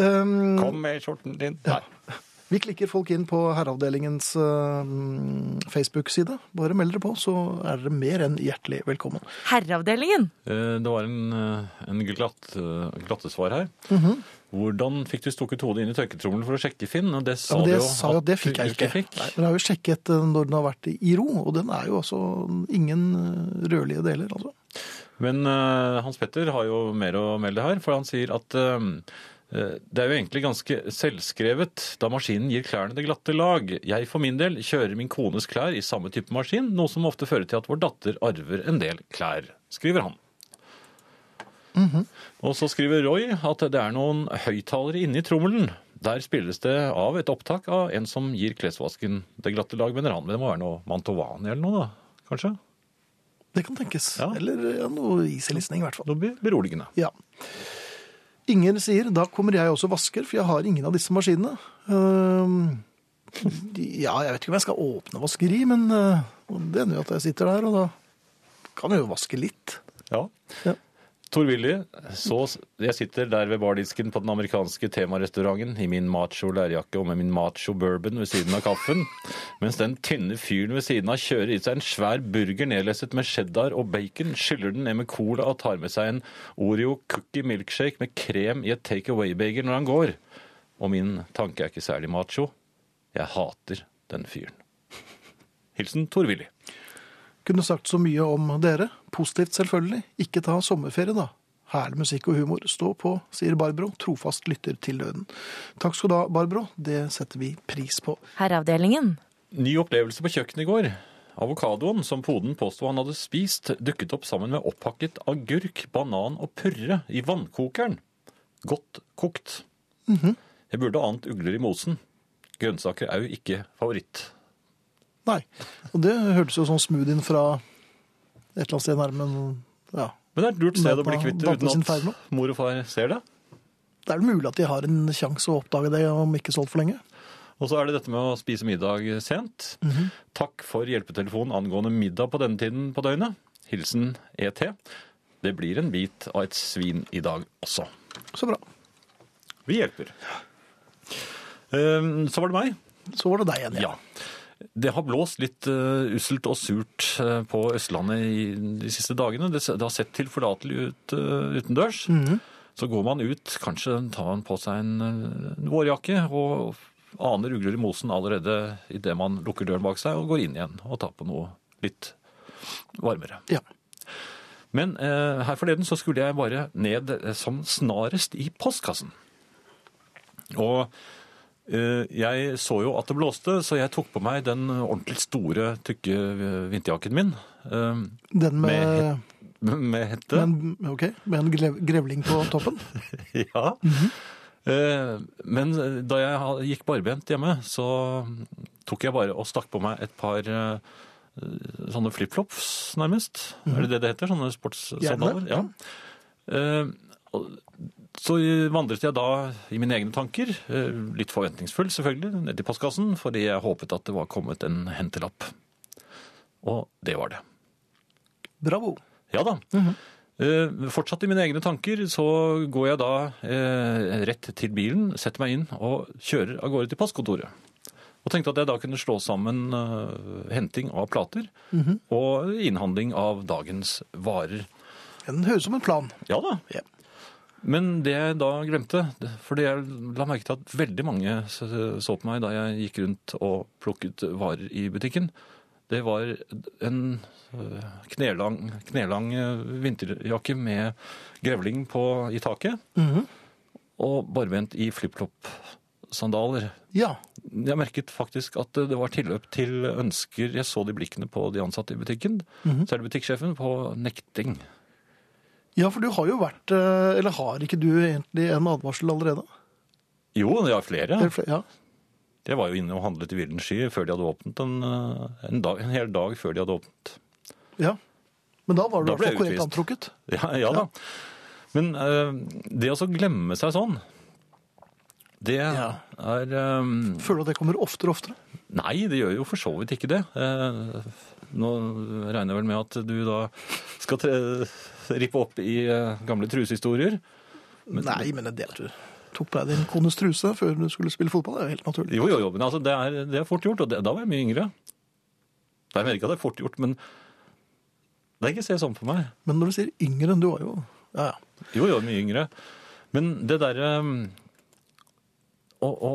S1: Um,
S2: Kom med skjorten din. Nei.
S1: Vi klikker folk inn på herreavdelingens eh, Facebook-side. Bare meld dere på, så er dere mer enn hjertelig velkommen.
S3: Herreavdelingen.
S2: Eh, Det var en, eh, en glatt, eh, glattesvar her. Hvordan fikk du stukket hodet inn i tørketrommelen for å sjekke Finn? Og Det sa
S1: Ja, men det
S2: du jo
S1: sa jo at det fikk jeg
S2: du
S1: ikke. Nei, men jeg har jo sjekket eh, når den har vært i ro, og den er jo altså ingen eh, rødlige deler, altså.
S2: Men eh, Hans Petter har jo mer å melde her, for han sier at eh, eh, det er jo egentlig ganske selvskrevet da maskinen gir klærne det glatte lag. Jeg for min del kjører min kones klær i samme type maskin, noe som ofte fører til at vår datter arver en del klær, skriver han. Og så skriver Roy at det er noen høyttalere inne i trommelen. Der spilles det av et opptak av en som gir klesvasken det glatte lag, mener han. Men det må være noe Mantovani eller noe, da, kanskje?
S1: Det kan tenkes.
S2: Ja.
S1: Eller ja, noe iselisning, i hvert fall.
S2: Noe be- beroligende.
S1: Ja. Inger sier da kommer jeg også og vasker, for jeg har ingen av disse maskinene. Ehm, ja, jeg vet ikke om jeg skal åpne vaskeri, men eh, det ender jo at jeg sitter der, og da kan jeg jo vaske litt.
S2: Ja.
S1: Ja.
S2: Tor-Willy, så s- jeg sitter der ved bardisken på den amerikanske temarestauranten i min macho lærjakke og med min macho bourbon ved siden av kaffen, mens den tynne fyren ved siden av kjører i seg en svær burger nedlesset med cheddar og bacon, skyller den ned med cola og tar med seg en Oreo cookie milkshake med krem i et take away-bager når han går. Og min tanke er ikke særlig macho. Jeg hater den fyren. Hilsen Tor-Willy.
S1: Kunne sagt så mye om dere. Positivt, selvfølgelig. Ikke ta sommerferie, da. Herlig musikk og humor. Stå på, sier Barbro, trofast lytter til døden. Takk skal du ha, Barbro. Det setter vi pris på.
S3: Herreavdelingen.
S2: Ny opplevelse på kjøkkenet i går. Avokadoen som poden påsto han hadde spist, dukket opp sammen med opphakket agurk, banan og purre i vannkokeren. Godt kokt. Jeg burde annet ugler i mosen. Grønnsaker er jo ikke favoritt.
S1: Nei. Og det hørtes jo sånn smoothien fra et eller annet sted nærme ja.
S2: Men det er et lurt sted å bli
S1: Data-
S2: kvitt det
S1: Datas
S2: uten
S1: Inferno.
S2: at mor og far ser det.
S1: Det er vel mulig at de har en sjanse å oppdage det om ikke så altfor lenge.
S2: Og så er det dette med å spise middag sent. Takk for hjelpetelefonen angående middag på denne tiden på døgnet. Hilsen ET. Det blir en bit av et svin i dag også.
S1: Så bra.
S2: Vi hjelper. Ehm, Så var det meg.
S1: Så var det deg igjen.
S2: Ja. Det har blåst litt eh, usselt og surt eh, på Østlandet i, de siste dagene. Det, det har sett tilforlatelig ut eh, utendørs. Så går man ut, kanskje tar man på seg en, eh, en vårjakke og aner ugler i mosen allerede idet man lukker døren bak seg og går inn igjen og tar på noe litt varmere.
S1: Ja.
S2: Men eh, her forleden så skulle jeg bare ned eh, som snarest i postkassen. Og eh, jeg så jo at det blåste, så jeg tok på meg den ordentlig store, tykke eh, vinterjakken min. eh,
S1: Den med,
S2: Med med hette.
S1: med, en, ok, med en grev, grevling på toppen.
S2: Ja. Eh, Men da jeg ha- gikk barbent hjemme, så tok jeg bare og stakk på meg et par eh, sånne flipflops, nærmest. Er det det det heter? Sånne sportssandaler?
S1: Gjerne,
S2: Ja. Eh, og- Så vandret jeg da i mine egne tanker, eh, litt forventningsfull selvfølgelig, ned til postkassen, fordi jeg håpet at det var kommet en hentelapp. Og det var det.
S1: Bravo.
S2: Ja da. Eh, fortsatt i mine egne tanker så går jeg da eh, rett til bilen, setter meg inn og kjører av gårde til passkontoret. Og tenkte at jeg da kunne slå sammen eh, henting av plater og innhandling av dagens varer.
S1: Den høres ut som en plan.
S2: Ja da.
S1: Ja.
S2: Men det jeg da glemte, for jeg la merke til at veldig mange så så på meg da jeg gikk rundt og plukket varer i butikken, det var en øh, knelang, knelang øh, vinterjakke med grevling på, i taket. Og barbent i flipflop-sandaler.
S1: Ja.
S2: Jeg merket faktisk at det var tilløp til ønsker. Jeg så de blikkene på de ansatte i butikken.
S1: Mhm.
S2: Selv butikksjefen på nekting.
S1: ja, for du har jo vært eh, Eller har ikke du egentlig en advarsel allerede?
S2: Jo, det var flere.
S1: Det er fle- Ja.
S2: Jeg var jo inne og handlet i Vildens sky før de hadde åpnet en, eh, en, dag, en hel dag før de hadde åpnet.
S1: ja. Men da var du i hvert
S2: Da ble
S1: fall
S2: jeg
S1: korrekt
S2: utvist.
S1: antrukket.
S2: Ja, ja da. Men eh, det å så glemme seg sånn, det
S1: Ja.
S2: er eh,
S1: Føler du at det kommer oftere og oftere?
S2: Nei, det gjør jo for så vidt ikke det. Eh, Nå regner jeg vel med at du da skal tre, rippe opp i eh, gamle trusehistorier.
S1: Nei, men det at du tok på deg din kones truse før du skulle spille fotball, det er jo helt naturlig.
S2: Jo, jo, jo, men altså, det, er, det er fort gjort, og det, da var jeg mye yngre. Jeg mener ikke at det er fort gjort, men det er ikke se sånn på meg.
S1: Men når du sier yngre enn du var jo Ja, ja.
S2: Jo, jo, mye yngre. Men det derre um, å, å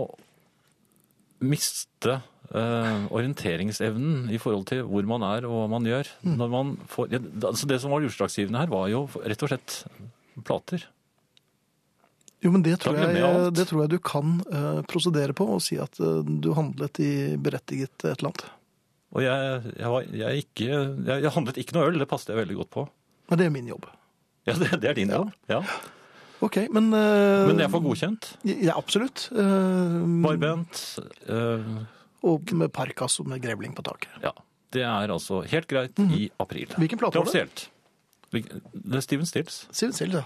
S2: miste eh, orienteringsevnen i forhold til hvor man er og hva man gjør
S1: Mm.
S2: når man får, ja, det- altså Det som var utslagsgivende her, var jo rett og slett plater.
S1: Jo, men det tror,
S2: Da glemmer
S1: jeg,
S2: jeg alt.
S1: det tror jeg du kan eh, prosedere på og si at eh, du handlet i berettiget et eller annet.
S2: Og jeg, jeg, var, jeg, ikke, jeg, jeg handlet ikke noe øl, det passet jeg veldig godt på.
S1: Men det er min jobb.
S2: Ja, Det, det er din jobb. Ja.
S1: OK, men eh,
S2: Men jeg får godkjent.
S1: Ja, absolutt. Eh,
S2: Barbent. eh,
S1: og med parkas og med grevling på taket.
S2: ja. Det er altså helt greit i april.
S1: Mm. Hvilken plate var det?
S2: Offisielt. Det er Steven Stills.
S1: Si det selv, da.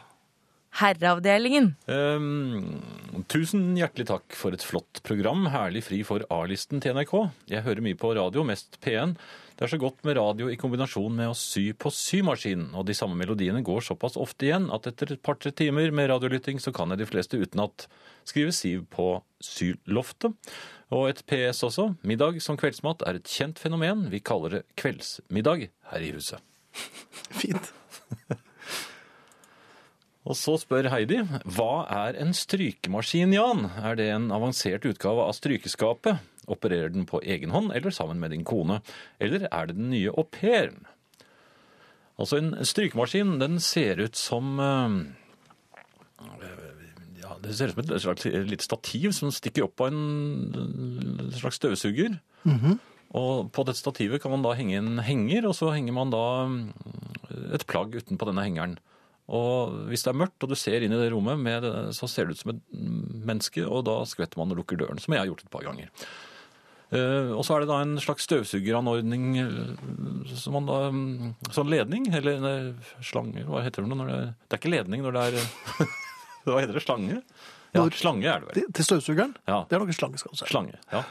S3: Herreavdelingen.
S2: Ehm, tusen hjertelig takk for et flott program. Herlig fri for A-listen til NRK. Jeg hører mye på radio, mest P1. Det er så godt med radio i kombinasjon med å sy på symaskinen, og de samme melodiene går såpass ofte igjen at etter et par-tre timer med radiolytting så kan jeg de fleste utenat. Skriver Siv på Syloftet. Og et PS også. Middag som kveldsmat er et kjent fenomen. Vi kaller det kveldsmiddag her i huset.
S1: Fint.
S2: Og så spør Heidi, hva er en strykemaskin, Jan? Er det en avansert utgave av strykeskapet? Opererer den på egen hånd eller sammen med din kone? Eller er det den nye au pairen? Altså, en strykemaskin, den ser ut som eh, Ja, det ser ut som et slags lite stativ som stikker opp av en slags støvsuger. Og på dette stativet kan man da henge en henger, og så henger man da mm, et plagg utenpå denne hengeren. Og hvis det er mørkt, og du ser inn i det rommet, med, så ser det ut som et mm, menneske, og da skvetter man og lukker døren, som jeg har gjort et par ganger. Eh, og så er det da en slags støvsugeranordning, eh, som man da, mm, sånn ledning, eller en, eh, slange, hva heter det nå når det er Det er ikke ledning når det er eh, Hva heter det, slange? Ja,
S1: Når-
S2: slange er det vel.
S1: Til, til støvsugeren?
S2: Ja.
S1: Det er nok en slange, skal du si.
S2: Slange, ja.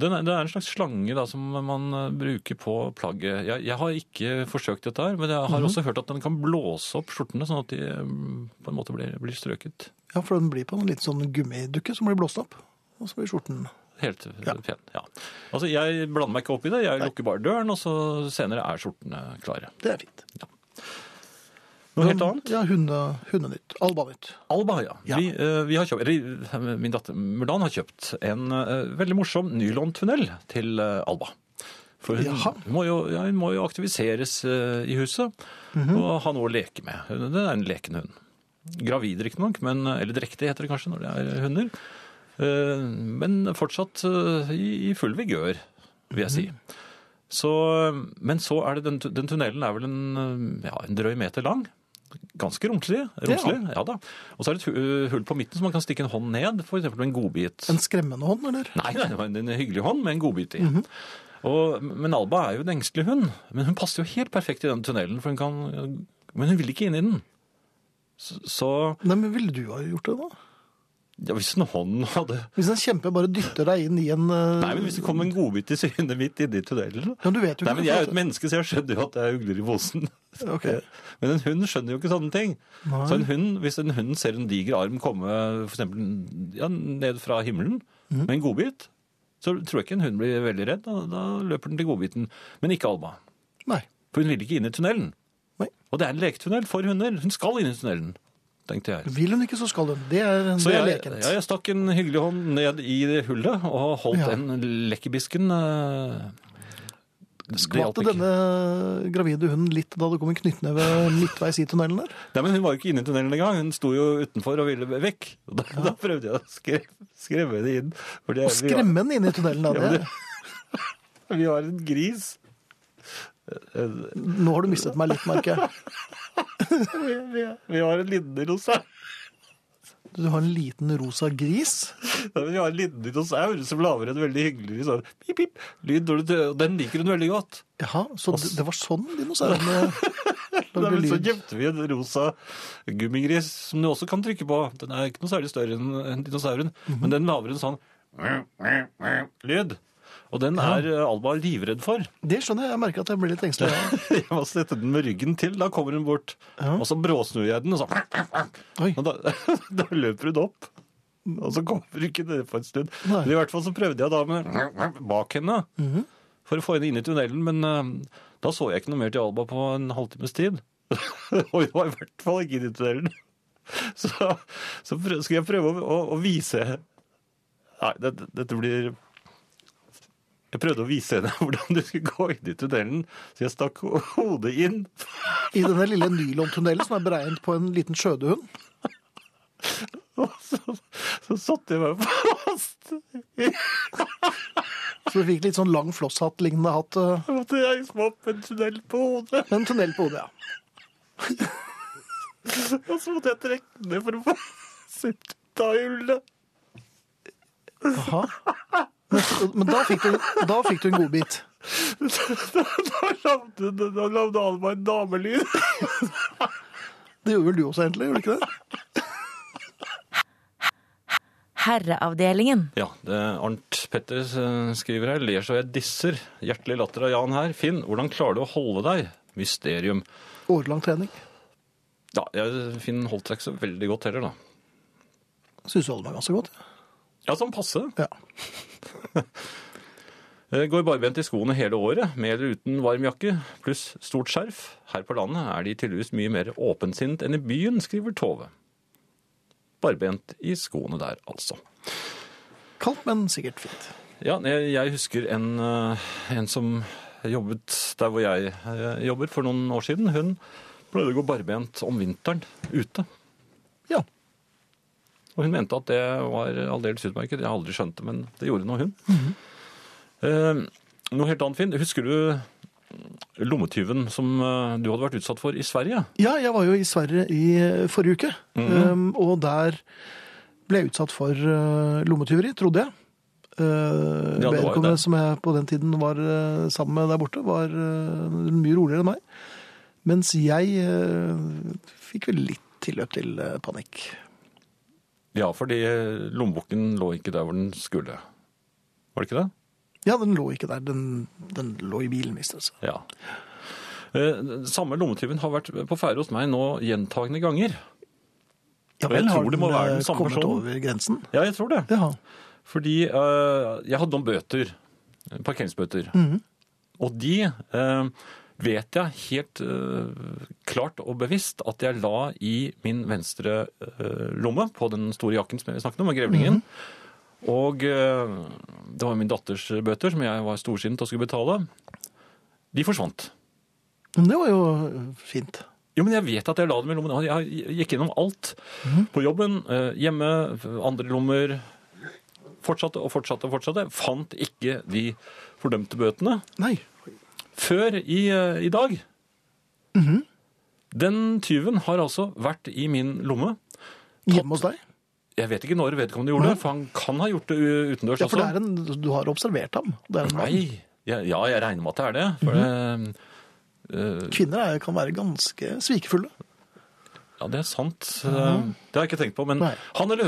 S2: Den er, det er en slags slange da, som man eh, bruker på plagget. Jeg, jeg har ikke forsøkt dette her, men jeg har også hørt at den kan blåse opp skjortene, sånn at de mm, på en måte blir, blir strøket.
S1: Ja, for den blir på en liten sånn gummidukke som blir blåst opp. Og så blir skjorten
S2: Helt eh,
S1: Ja.
S2: pen, ja. Altså, jeg blander meg ikke opp i det. Jeg lukker bare døren, og så senere er skjortene klare.
S1: Det er fint.
S2: Noe helt annet?
S1: Ja, hunde, hundenytt. Albanytt.
S2: Alba, ja.
S1: Ja.
S2: Vi, eh, vi har kjøpt, eller, eh, min datter Murdan har kjøpt en eh, veldig morsom nylontunnel til eh, Alba. For hun,
S1: Jaha.
S2: hun må, jo, ja, hun må jo aktiviseres eh, i huset
S1: Mhm.
S2: og ha noe å leke med. Hun- Det er en leken hund. Gravid riktignok, men- eller drektig heter det kanskje når det er hunder. Eh, Men fortsatt eh, i i full vigør, vil jeg si. Så, men så er det den, den tunnelen er vel en, eh, ja, en drøy meter lang. Ganske romslig. romslig ja. da. Og så er det et hu- eh, hull på midten, så man kan stikke en hånd ned, f.eks. med en godbit.
S1: En skremmende hånd, eller?
S2: Nei, det var en, en hyggelig hånd med en godbit i. og, men Alba er jo en engstelig hund. Men hun passer jo helt perfekt i den tunnelen, for hun kan Men hun vil ikke inn i den. Så, så
S1: Nei, men ville du ha gjort det, da?
S2: ja, hvis en hånd hadde
S1: Hvis en kjempe bare dytter deg inn i en eh,
S2: Nei, men hvis det kom en godbit i synet mitt inni tunnelen
S1: Ja, du vet jo
S2: Nei,
S1: ikke.
S2: men jeg er jo et menneske, så jeg skjønner jo at det er ugler i posen.
S1: Ok.
S2: Men en hund skjønner jo ikke sånne ting. Så en hund, hvis en hund ser en diger arm komme for eksempel, ja, ned fra himmelen
S1: Mhm.
S2: med en godbit, så tror jeg ikke en hund blir veldig redd. Da, da løper den til godbiten. Men ikke Alma.
S1: Nei.
S2: For hun vil ikke inn i tunnelen.
S1: Nei.
S2: Og det er en leketunnel for hunder. Hun skal inn i tunnelen, tenkte jeg.
S1: Vil hun ikke, så skal hun. Det er,
S2: Så
S1: det er
S2: jeg,
S1: lekent.
S2: ja, jeg stakk en hyggelig hånd ned i det hullet og holdt
S1: Ja.
S2: den lekkerbisken. eh, det
S1: Skvatt
S2: hjalp ikke.
S1: denne eh, gravide hunden litt da det kom en knyttneve midtveis i tunnelen der?
S2: Nei, men Hun var jo ikke inne i tunnelen engang. Hun sto jo utenfor og ville vekk. Og da, da prøvde jeg å skre, skremme henne inn. Fordi
S1: Og skremme henne inn i tunnelen.
S2: Ja,
S1: Da.
S2: men
S1: Det,
S2: Vi, har, vi har en gris.
S1: nå har du mistet meg litt, merker jeg.
S2: Vi, vi, vi har en liten dinosaur.
S1: Du har en liten rosa gris.
S2: Nei, men Vi har en liten dinosaur som lager en veldig hyggelig sånn pip-pip-lyd. når du dør, Og den liker hun veldig godt.
S1: Jaha, så det, det var sånn dinosaurene
S2: Nei,
S1: lagde
S2: men så
S1: lyd?
S2: kjøpte vi en rosa gummigris som du også kan trykke på. Den er ikke noe særlig større enn enn dinosauren, men den lager en sånn lyd. Og den er eh, Alba livredd for.
S1: Det skjønner jeg. Jeg merker at jeg blir litt engstelig. ja.
S2: Jeg må sette den med ryggen til, da kommer hun bort. Og så bråsnur jeg den, og så
S1: Oi.
S2: og da, da løper hun opp. Og så kommer hun ikke ned på en stund.
S1: Nei.
S2: Men i hvert fall så prøvde jeg da med bak henne for å få henne inn i tunnelen, men eh, da så jeg ikke noe mer til Alba på en halvtimes tid. og hun var i hvert fall ikke inne i tunnelen. Så, så prøv, skulle jeg prøve å, å, å vise Nei, dette, dette blir jeg prøvde å vise henne hvordan du skulle gå inn i tunnelen, så jeg stakk ho- hodet inn.
S1: I denne lille nylontunnelen som er beregnet på en liten skjødehund.
S2: Og så, så satte jeg meg fast.
S1: Så du fikk litt sånn lang flosshatt-lignende hatt. eh,
S2: Så måtte jeg liksom opp en tunnel på hodet.
S1: Med en tunnel på hodet, ja.
S2: Og så måtte jeg trekke den ned for å få sitt ta i hullet.
S1: Jaha. Men, men da, fikk du, da fikk du en godbit.
S2: Da da lagde den- da lagde Alma en damelyd.
S1: Det gjorde vel du også, egentlig? gjorde du ikke det?
S3: Herreavdelingen.
S6: Ja, det Arnt Petter eh, skriver her. Ler så jeg disser. Hjertelig latter av Jan her. Finn, hvordan klarer du å holde deg? Mysterium.
S1: Årelang trening.
S6: Ja, jeg, Finn holdt seg ikke så veldig godt heller, da.
S1: Syns jeg holder meg ganske godt.
S6: Ja, sånn passe.
S1: Ja.
S6: Eh, Går barbent i skoene hele året, med eller uten varm jakke, pluss stort skjerf. Her på landet er de tydeligvis mye mer åpensinnet enn i byen, skriver Tove. Barbent i skoene der, altså.
S1: Kaldt, men sikkert fint.
S6: Ja, jeg, jeg husker en, eh, en som jobbet der hvor jeg eh, jobber for noen år siden. Hun pleide å gå barbent om vinteren ute.
S1: Ja.
S6: Og hun mente at det var aldeles utmerket. Jeg har aldri skjønt det, men det gjorde nå hun. eh, noe helt annet, Finn. Husker du lommetyven som eh, du hadde vært utsatt for i Sverige?
S1: Ja, jeg var jo i Sverige i eh, forrige uke, um, og der ble jeg utsatt for eh, lommetyveri, trodde jeg. Uh,
S6: Ja, det var jo
S1: Vedkommende
S6: det.
S1: som jeg på den tiden var eh, sammen med der borte, var eh, mye roligere enn meg. Mens jeg eh, fikk vel litt tilløp til eh, panikk.
S6: Ja, fordi lommeboken lå ikke der hvor den skulle. Var det ikke det?
S1: Ja, den lå ikke der. Den, den lå i bilen, mister jeg.
S6: Ja. Eh, Samme lommetyven har vært på ferde hos meg nå gjentagende ganger.
S1: Ja,
S6: Og jeg tror
S1: har
S6: det må
S1: den,
S6: være den
S1: eh,
S6: samme
S1: kommet
S6: personen.
S1: over grensen?
S6: Ja, jeg tror det.
S1: Ja.
S6: Fordi eh, jeg hadde noen bøter, parkeringsbøter. Og de eh, vet jeg helt eh, klart og bevisst at jeg la i min venstre eh, lomme på den store jakken som jeg snakket om, og grevlingen. Og eh, det var min datters bøter som jeg var storsinnet og skulle betale. De forsvant.
S1: Men det var jo eh, fint.
S6: Jo, men jeg vet at jeg la dem i lommen. Jeg gikk gjennom alt.
S1: Mhm.
S6: På jobben, eh, hjemme, andre lommer. Fortsatte og fortsatte og fortsatte. Fant ikke de fordømte bøtene
S1: Nei.
S6: før i, eh, i dag.
S1: Mhm.
S6: Den tyven har altså vært i min lomme.
S1: Hjemme hos deg?
S6: Jeg vet ikke når vedkommende gjorde det, for han kan ha gjort det u- utendørs
S1: Ja, for det
S6: også.
S1: er en, du har observert ham. Det er en mann. Mhm.
S6: Nei. Ja, ja, jeg regner med at det er det. For det eh,
S1: Kvinner er, kan være ganske svikefulle.
S6: Ja, det er sant. Eh, Det har jeg ikke tenkt på. Men
S1: Nei. Mhm.
S6: han eller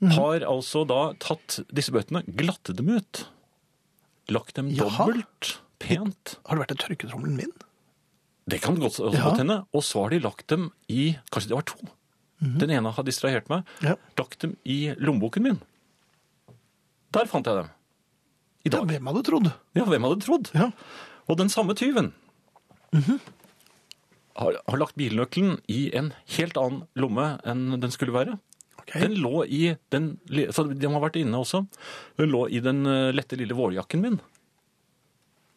S6: hun har altså da tatt disse bøtene, glattet dem ut, lagt dem
S1: Jaha.
S6: dobbelt pent
S1: Har det vært i tørketrommelen min?
S6: Det kan godt også
S1: Ja.
S6: godt hende. Og så har de lagt dem i Kanskje det var to. Den ene har distrahert meg.
S1: Mhm. Ja.
S6: Lagt dem i lommeboken min. Der fant jeg dem. I
S1: Ja,
S6: dag.
S1: hvem hadde trodd?
S6: Ja, hvem hadde trodd?
S1: Ja. Mhm.
S6: Og den samme tyven har, har lagt bilnøkkelen i en helt annen lomme enn den skulle være.
S1: Ok.
S6: Den lå i den, li- for de har vært inne også, den lå i den eh, lette lille vårjakken min.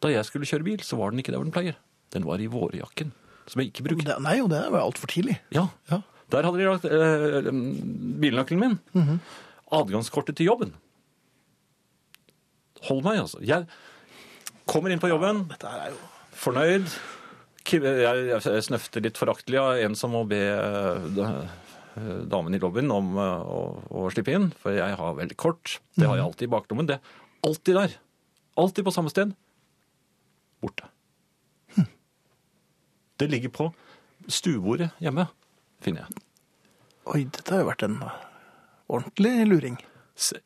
S6: Da jeg skulle kjøre bil, så var den ikke der hvor den pleier. Den var i vårjakken, som jeg ikke brukte.
S1: Det, nei, jo, det var altfor tidlig.
S6: Ja,
S1: Ja.
S6: der hadde de lagt eh, bilnøkkelen min. Adgangskortet til jobben. Hold meg, altså. Jeg kommer inn på jobben,
S1: Dette her er jo
S6: fornøyd. Kim- Jeg, jeg snøfter litt foraktelig av en som må be eh, da- eh, damen i lobbyen om eh, å, å slippe inn, for jeg har veldig kort. Det har jeg alltid i baklommen. Det er alltid der. Alltid på samme sted. Borte. Det ligger på stuebordet hjemme, finner jeg.
S1: Oi, dette har jo vært en ordentlig luring.
S6: Se-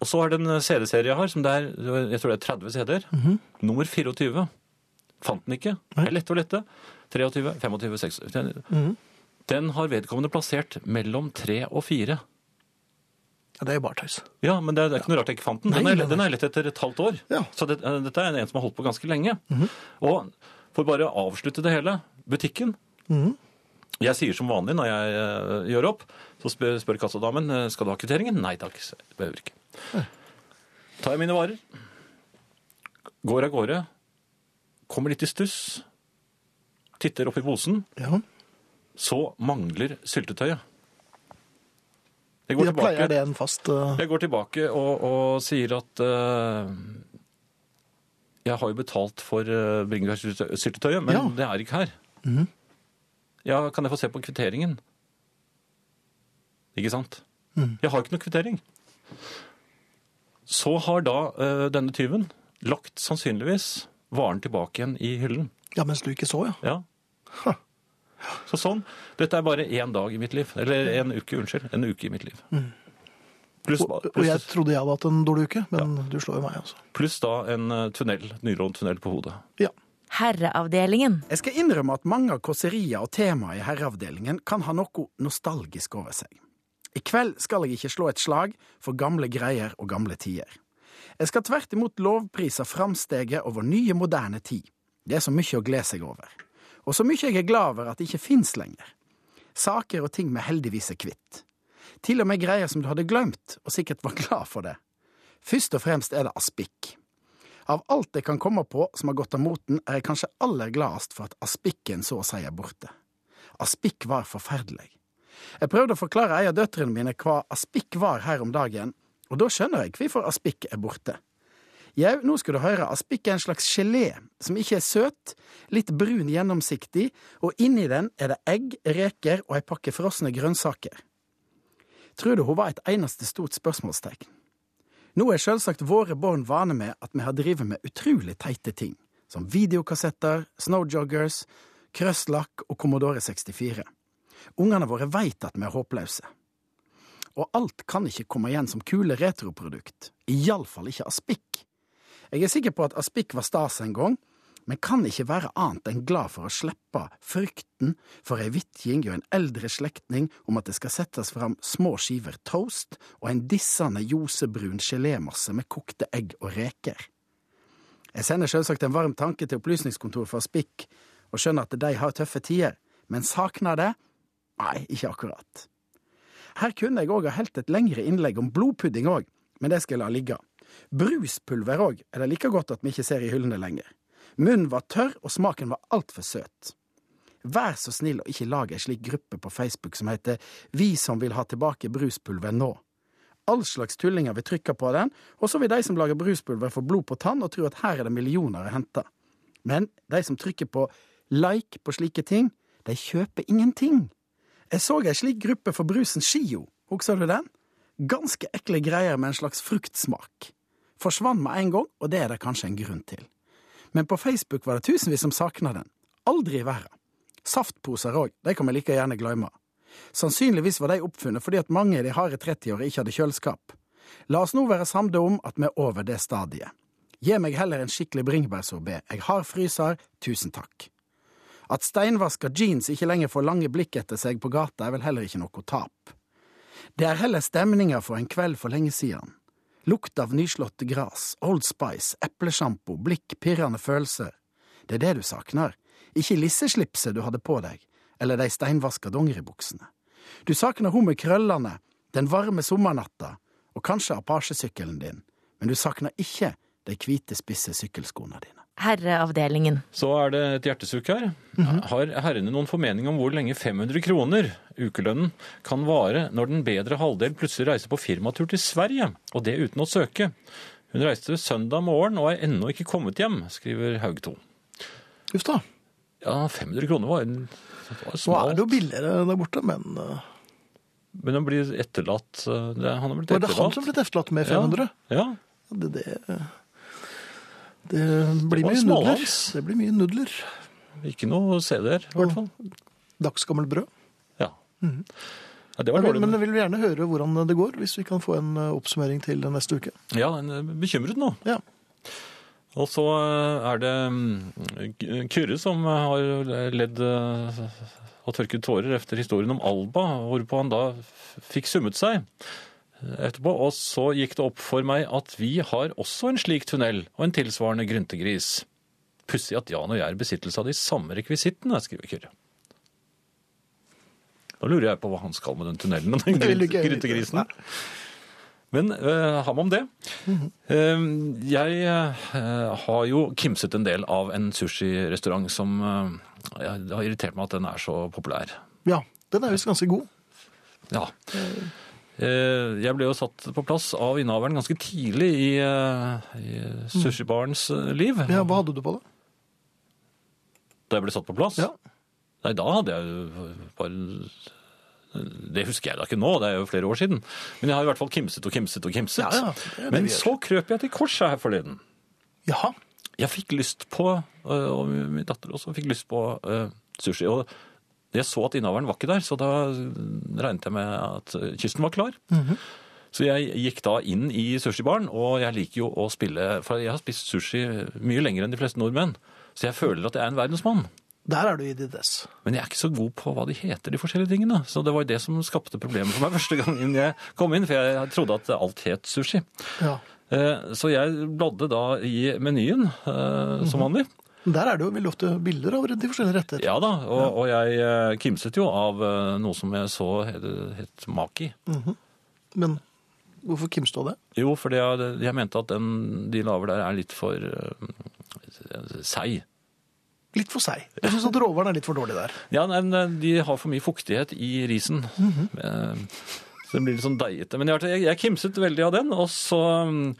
S6: Og så er det en CD-serie jeg har, som det er, jeg tror det er 30 CD-er. Nummer 24. Fant den ikke. Det er lette og lette. 23, 25, 26 Den, den har vedkommende plassert mellom 3 og 4.
S1: Ja, det er jo bare tøys.
S6: Ja, men det er, det er ikke noe rart jeg ikke fant den. Den
S1: Nei,
S6: er,
S1: nei, nei.
S6: den er lett etter et halvt år.
S1: Ja. Mhm.
S6: Så det, eh, dette er en som har holdt på ganske lenge. Og for bare å avslutte det hele, butikken.
S1: Mhm.
S6: Jeg sier som vanlig når jeg eh, gjør opp, så spør, spør kassadamen eh, skal du ha kvitteringen. Nei takk, s- behøver ikke. Tar jeg mine varer, går av gårde, kommer litt i stuss, titter opp i posen,
S1: Ja.
S6: så mangler syltetøyet. Jeg
S1: Jeg pleier det en fast uh,
S6: jeg går tilbake og, og sier at eh, jeg har jo betalt for uh, bringebærsyltetøyet, men
S1: Ja. Mhm.
S6: det er ikke her. Ja, kan jeg få se på kvitteringen? Ikke sant?
S1: Mhm.
S6: Jeg har ikke noe kvittering. Så har da eh, denne tyven lagt sannsynligvis varen tilbake igjen i hyllen.
S1: Ja, mens du ikke så, ja.
S6: Ja.
S1: Ha.
S6: Så sånn. Dette er bare én dag i mitt liv. Eller en uke, unnskyld. En uke i mitt liv. Pluss
S1: Mhm. Og, og jeg
S6: pluss,
S1: trodde jeg hadde hatt en dårlig uke, men du slår jo meg, altså.
S6: pluss da en eh, tunnel, nylånt tunnel på hodet.
S1: Ja.
S3: Herreavdelingen.
S7: Jeg skal innrømme at mange av kåserier og temaer i herreavdelingen kan ha noe nostalgisk over seg. I kveld skal jeg ikke slå et slag for gamle greier og gamle tider. Jeg skal tvert imot lovprise framsteget over nye, moderne tid. Det er så mye å glede seg over. Og så mye jeg er glad over at det ikke fins lenger. Saker og ting vi heldigvis er kvitt. Til og med greier som du hadde glemt, og sikkert var glad for det. Først og fremst er det aspikk. Av alt jeg kan komme på som har gått av moten, er jeg kanskje aller gladest for at aspikken så å si er borte. Aspikk var forferdelig. Jeg prøvde å forklare ei av døtrene mine hva aspikk var her om dagen, og da skjønner jeg hvorfor aspikk er borte. Jau, nå skal du høre, aspikk er en slags gelé som ikke er søt, litt brun gjennomsiktig, og inni den er det egg, reker og ei pakke frosne grønnsaker. Tror du hun var et eneste stort spørsmålstegn? Nå er selvsagt våre barn vane med at vi har drevet med utrolig teite ting, som videokassetter, snowjoggers, krøsslakk og Commodore 64. Ungene våre veit at vi er håpløse. Og alt kan ikke komme igjen som kule retroprodukt, iallfall ikke aspikk. Jeg er sikker på at aspikk var stas en gang, men kan ikke være annet enn glad for å slippe frykten for ei vitjing og en eldre slektning om at det skal settes fram små skiver toast og en dissende ljosebrun gelémasse med kokte egg og reker. Jeg sender selvsagt en varm tanke til Opplysningskontoret for Spikk, og skjønner at de har tøffe tider, men savner det? Nei, ikke akkurat. Her kunne jeg òg ha helt et lengre innlegg om blodpudding òg, men det skal jeg la ligge. Bruspulver òg er det like godt at vi ikke ser i hyllene lenger. Munnen var tørr, og smaken var altfor søt. Vær så snill å ikke lage ei slik gruppe på Facebook som heter Vi som vil ha tilbake bruspulver nå. All slags tullinger vil trykke på den, og så vil de som lager bruspulver få blod på tann og tro at her er det millioner å hente. Men de som trykker på like på slike ting, de kjøper ingenting. Jeg så ei slik gruppe for brusen Shio, husker du den? Ganske ekle greier med en slags fruktsmak. Forsvant med en gang, og det er det kanskje en grunn til. Men på Facebook var det tusenvis som savna den. Aldri i verden. Saftposer òg, de kan vi like gjerne glemme. Sannsynligvis var de oppfunnet fordi at mange i de harde 30-åra ikke hadde kjøleskap. La oss nå være samde om at vi er over det stadiet. Gi meg heller en skikkelig bringebærsorbé. Jeg har fryser, tusen takk. At steinvaska jeans ikke lenger får lange blikk etter seg på gata, er vel heller ikke noe tap. Det er heller stemninga for en kveld for lenge siden. Lukt av nyslått gras, Old Spice, eplesjampo, blikk, pirrende følelser. Det er det du savner, ikke lisseslipset du hadde på deg, eller de steinvaska dongeribuksene. Du savner hun med krøllene, den varme sommernatta, og kanskje apasjesykkelen din, men du savner ikke de hvite, spisse sykkelskoene dine.
S3: Herreavdelingen.
S6: Så er det et hjertesukk her. Har herrene noen formening om hvor lenge 500 kroner, ukelønnen, kan vare når den bedre halvdel plutselig reiser på firmatur til Sverige, og det uten å søke? Hun reiste søndag morgen og er ennå ikke kommet hjem, skriver Haug 2.
S1: Uff da.
S6: Ja, 500 kroner var, en- var
S1: Nå er det
S6: smalt,
S1: jo billigere der borte, men eh,
S6: men han blir etterlatt. eh, Det, han har blitt
S1: var det han
S6: etterlatt.
S1: som ble efterlatt med 500?
S6: Ja,
S1: Det, det, det
S6: Det
S1: blir
S6: var
S1: mye nudler.
S6: smalhans.
S1: Det blir mye nudler.
S6: ja, ikke noe CDR i hvert fall.
S1: Dagsgammelt brød.
S6: Ja. ja det var
S1: Men,
S6: dårlig.
S1: men
S6: Men,
S1: vi vil gjerne høre hvordan det går, hvis vi kan få en eh, oppsummering til neste uke.
S6: ja, en er bekymret nå.
S1: Ja.
S6: Og så eh, er det mm, Kyrre som har ledd eh, og tørket tårer efter historien om Alba, hvorpå han da f- fikk summet seg etterpå. Og så gikk det opp for meg at vi har også en slik tunnel og en tilsvarende gryntegris. Pussig at Jan og jeg er i besittelse av de samme rekvisittene, skriver Kyrre. Da lurer jeg på hva han skal med den tunnelen og den
S1: Det vil
S6: gryte-
S1: ikke jeg vite.
S6: grytegrisen. Men eh, ham om det. Eh, jeg eh, har jo kimset en del av en sushirestaurant som eh, ja, Det har irritert meg at den er så populær.
S1: ja. Den er visst ganske god.
S6: Ja. Eh, Jeg ble jo satt på plass av innehaveren ganske tidlig i, eh, i sushibarens eh, liv.
S1: Ja, hva hadde du på det?
S6: Da jeg ble satt på plass?
S1: Ja.
S6: Nei, da hadde jeg jo bare Det husker jeg da ikke nå, det er jo flere år siden. Men jeg har i hvert fall kimset og kimset og kimset.
S1: Ja, ja, det er det
S6: Men
S1: vi gjør.
S6: så krøp jeg til korset her forleden.
S1: Jaha.
S6: Jeg fikk lyst på, øh, og min datter også fikk lyst på øh, sushi. Og jeg så at innehaveren var ikke der, så da regnet jeg med at øh, kysten var øh, klar. Så jeg gikk da inn i sushibaren, og jeg liker jo å spille For jeg har spist sushi mye lenger enn de fleste nordmenn, så jeg føler at jeg er en verdensmann.
S1: Der er du i ditt ess.
S6: Men jeg er ikke så god på hva de heter, de forskjellige tingene. Så det var jo det som skapte problemer for meg første gangen jeg kom inn, for jeg trodde at alt het sushi.
S1: Ja.
S6: Eh, Så jeg bladde da i menyen, eh, som vanlig.
S1: Der er det jo veldig ofte bilder av de forskjellige retter.
S6: Ja da, og, og jeg eh, kimset jo av eh, noe som jeg så het, het maki.
S1: Men hvorfor kimstå det?
S6: Jo, fordi jeg, jeg mente at den de lager der er litt for eh, seig.
S1: Litt for seg. Jeg syns at råvaren er litt for dårlig der.
S6: Ja, nei, men eh, de har for mye fuktighet i risen.
S1: Mhm.
S6: Eh, Så det blir litt sånn deigete. Men jeg, har- jeg, jeg kimset veldig av den, og så mm,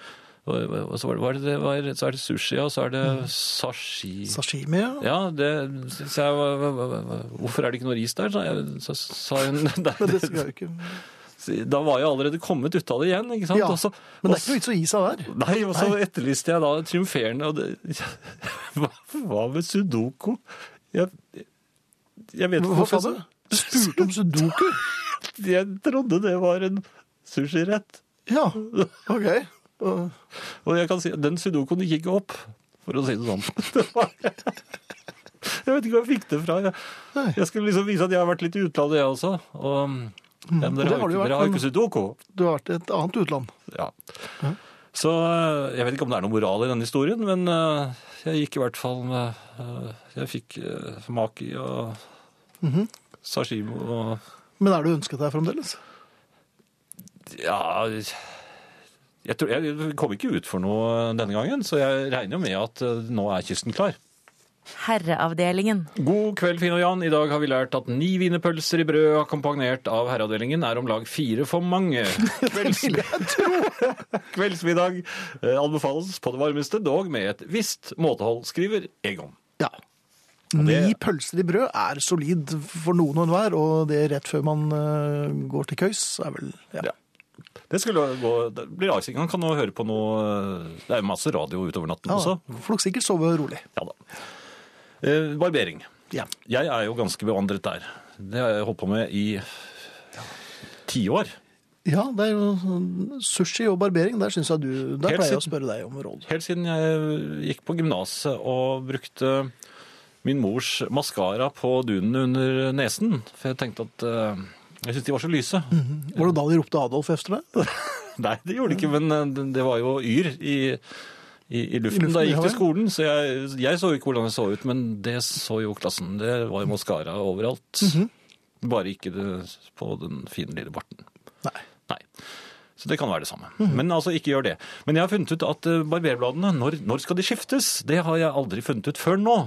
S6: og- og så, var det, var det, det var, så er det sushi, og så er
S1: Mhm.
S6: det sashi.
S1: Sashimi, ja.
S6: Ja, det så jeg, var- var- var- var- Hvorfor er det ikke noe ris der? sa jeg. Så sa hun nei,
S1: Men det skal jeg jo ikke
S6: det- Da var jeg allerede kommet ut av det igjen, ikke sant?
S1: Ja,
S6: Og så-
S1: Men det er
S6: og
S1: ikke noe vits å gi seg der.
S6: Nei, og så etterlyste jeg da triumferende og det, hva, hva med sudoku? Jeg, jeg vet ikke
S1: Hva sa du?
S6: hvorfor
S1: Du spurte om sudoku?
S6: Jeg trodde det var en sushirett.
S1: Ja, OK. Og-
S6: Og jeg kan si at den sudokuen gikk ikke opp, for å si det sånn. Det var, jeg vet ikke hvor jeg fikk det fra. Jeg,
S1: Nei.
S6: jeg skulle liksom vise at jeg har vært litt i utlandet, jeg også. Og, ja, men
S1: Mm. det
S6: dere
S1: har
S6: har
S1: du
S6: jo
S1: vært,
S6: ikke, dere har jo
S1: men-
S6: ikke sudoku.
S1: Du har vært i et annet utland.
S6: Ja. Så eh, jeg vet ikke om det er noe moral i denne historien, men eh, jeg gikk i hvert fall med eh, Jeg fikk eh, maki og sashimi og
S1: Men er du ønsket deg fremdeles?
S6: Ja jeg, tror, jeg kom ikke ut for noe denne gangen, så jeg regner jo med at eh, nå er kysten klar.
S3: Herreavdelingen.
S6: God kveld, Finn og Jan. I dag har vi lært at ni wienerpølser i brød akkompagnert av herreavdelingen er om lag fire for mange. Kvelds... Kveldsmiddag eh, anbefales på det varmeste, dog med et visst måtehold, skriver Egon.
S1: Ja. Ni pølser i brød er solid for noen og enhver, og det rett før man eh, går til køys, er vel ja.
S6: Ja. Det skulle gå Det blir avsing. Han kan nå høre på noe eh, Det er jo masse radio utover natten
S1: Ja,
S6: også.
S1: Får nok sikkert sove rolig.
S6: Ja da. Eh, barbering.
S1: Ja.
S6: Jeg er jo ganske bevandret der. Det har jeg holdt på med i tiår.
S1: ja, det er jo sånn sushi og barbering. Der syns jeg du Der pleier
S6: Helt
S1: jeg å
S6: sikkert.
S1: spørre deg om råd.
S6: Helt siden jeg gikk på gymnaset og brukte min mors maskara på dunene under nesen. For jeg tenkte at eh, Jeg syntes de var så lyse.
S1: Var det da de ropte Adolf efter deg?
S6: Nei, det gjorde de ikke, men eh, det- det var jo yr i, i, i, luften,
S1: luften,
S6: da jeg
S1: ja,
S6: gikk til
S1: ja.
S6: skolen. Så jeg, jeg så jo ikke hvordan jeg så ut, men det så jo klassen. Det var jo maskara overalt.
S1: Mhm.
S6: Bare ikke det, på den fine lille barten.
S1: Nei. Mhm.
S6: Nei. Så det kan være det samme. Men altså, ikke gjør det. Men jeg har funnet ut at eh, barberbladene, når, når skal de skiftes? Det har jeg aldri funnet ut før nå.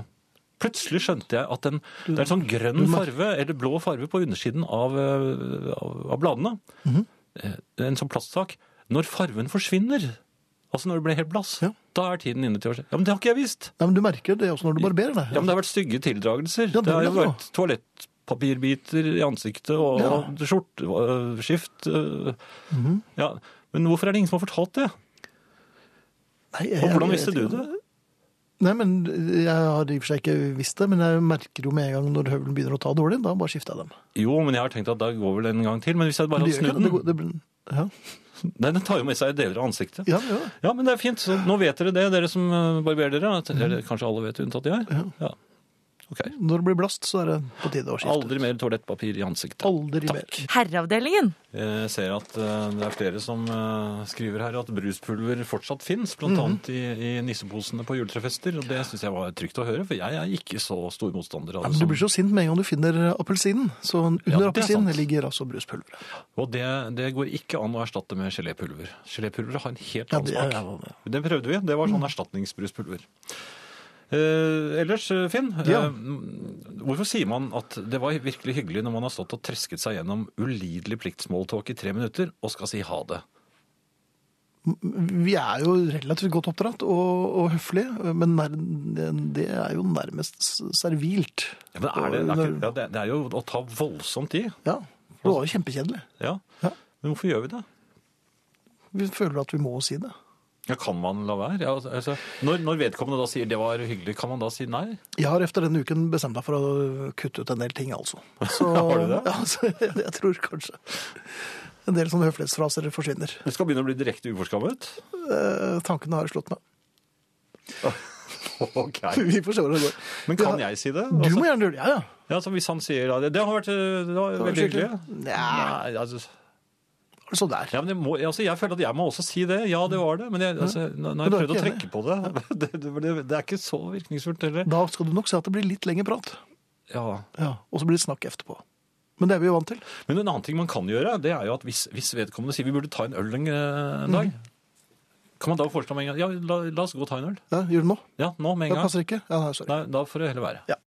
S6: Plutselig skjønte jeg at den, det er en sånn grønn farve, eller blå farve på undersiden av, eh, av, av bladene. Eh, En sånn plastsak. Når farven forsvinner, altså når det blir helt blass,
S1: Ja.
S6: da er tiden inne til å skje. Ja, men det har ikke jeg visst.
S1: Nei, men Du merker det også når du barberer deg.
S6: Ja, men det har vært stygge tildragelser.
S1: Ja, det
S6: det, har
S1: vil
S6: jo
S1: jeg tro.
S6: vært toalettpapirbiter i ansiktet og
S1: Ja. Mhm.
S6: og skjorteskift. øh, ja. Men hvorfor er det ingen som har fortalt det?
S1: Nei, jeg-
S6: Og hvordan
S1: jeg
S6: visste
S1: vet
S6: du
S1: ikke.
S6: det?
S1: Nei, men Jeg har i og for seg ikke visst det, men jeg merker jo med en gang når høvelen begynner å ta dårlig, da bare skifter jeg dem.
S6: Jo, men jeg har tenkt at da går vel en gang til. Men hvis jeg bare
S1: Men
S6: hadde
S1: det gjør ikke
S6: snudd
S1: det. Det går-
S6: den
S1: det blir- Ja,
S6: Nei, den tar jo med seg deler av ansiktet.
S1: ja, det gjør det.
S6: Ja, men det er fint. Så nå vet dere det, dere som øh, barberer dere.
S1: Mhm.
S6: At, eller kanskje alle vet unntatt jeg. Ja. Ok.
S1: Når det blir blast, så er det på tide å skifte.
S6: Aldri mer toalettpapir i ansiktet.
S1: Aldri mer.
S3: Herreavdelingen.
S6: Jeg ser at eh, det er flere som eh, skriver her at bruspulver fortsatt fins,
S1: Mhm.
S6: bl.a. i, i nisseposene på juletrefester. Og det syns jeg var trygt å høre, for jeg er ikke så stor motstander av
S1: Ja,
S6: det.
S1: men du
S6: som-
S1: blir så sint med en gang du finner appelsinen. Så under
S6: Ja, det er
S1: appelsinen
S6: sant.
S1: ligger altså bruspulveret.
S6: Og det, det går ikke an å erstatte med gelépulver. Gelépulver har en helt
S1: Ja,
S6: annen
S1: det er- Mm.
S6: smak.
S1: ja, det
S6: Det prøvde vi. Det var sånn erstatningsbruspulver. Eh, ellers, eh, Finn, eh,
S1: Ja.
S6: hvorfor sier man at det var virkelig hyggelig når man har stått og tresket seg gjennom ulidelig pliktsmåltåk i tre minutter og skal si ha det?
S1: Vi er jo relativt godt oppdratt og, og høflige, men nær, det er jo nærmest s- servilt.
S6: Ja, men er det, det, er ikke, ja, det, det er jo å ta voldsomt i.
S1: Ja, for det var jo kjempekjedelig.
S6: Ja.
S1: Ja.
S6: Men hvorfor gjør vi det?
S1: Vi føler at vi må si det.
S6: Ja, kan man la være? Ja, altså, når, når vedkommende da sier det var hyggelig, kan man da si nei?
S1: Jeg har efter denne uken bestemt meg for å kutte ut en del ting, altså. Så,
S6: Har du det?
S1: Ja, så jeg, jeg tror kanskje. En del sånne høflighetsfraser forsvinner.
S6: Jeg skal begynne å bli direkte uforskammet.
S1: Eh, tankene har slått meg.
S6: Ok.
S1: Vi får se hvordan det går.
S6: Men kan jeg si det?
S1: Du
S6: Altså,
S1: må gjerne gjøre det. Ja, ja.
S6: ja, altså, hvis han sier ja, det, det har vært eh,
S1: Det
S6: det var
S1: var
S6: veldig
S1: skikkelig.
S6: hyggelig.
S1: Nja,
S6: Nei, altså,
S1: altså der.
S6: ja, men jeg, må, altså, jeg føler at jeg må også si det. Ja, det var det. Men jeg, altså, nå nå har
S1: Men du
S6: jeg
S1: er
S6: prøvd å
S1: ikke
S6: trekke på det. Det, det, det. det er ikke så virkningsfullt heller.
S1: Da skal du nok se at det blir litt lengre prat.
S6: Ja.
S1: Ja, og så blir det snakk etterpå. Men det er vi jo vant til.
S6: Men en annen ting man kan gjøre, det er jo at hvis, hvis vedkommende sier vi burde ta en øl en, eh, en dag, kan man da foreslå med en gang ja, la, la oss gå og ta en øl.
S1: Ja, gjør det nå.
S6: Ja, nå med
S1: Det
S6: en gang.
S1: passer ikke. Ja, nei, sorry.
S6: Nei, da får det heller være.
S1: Ja.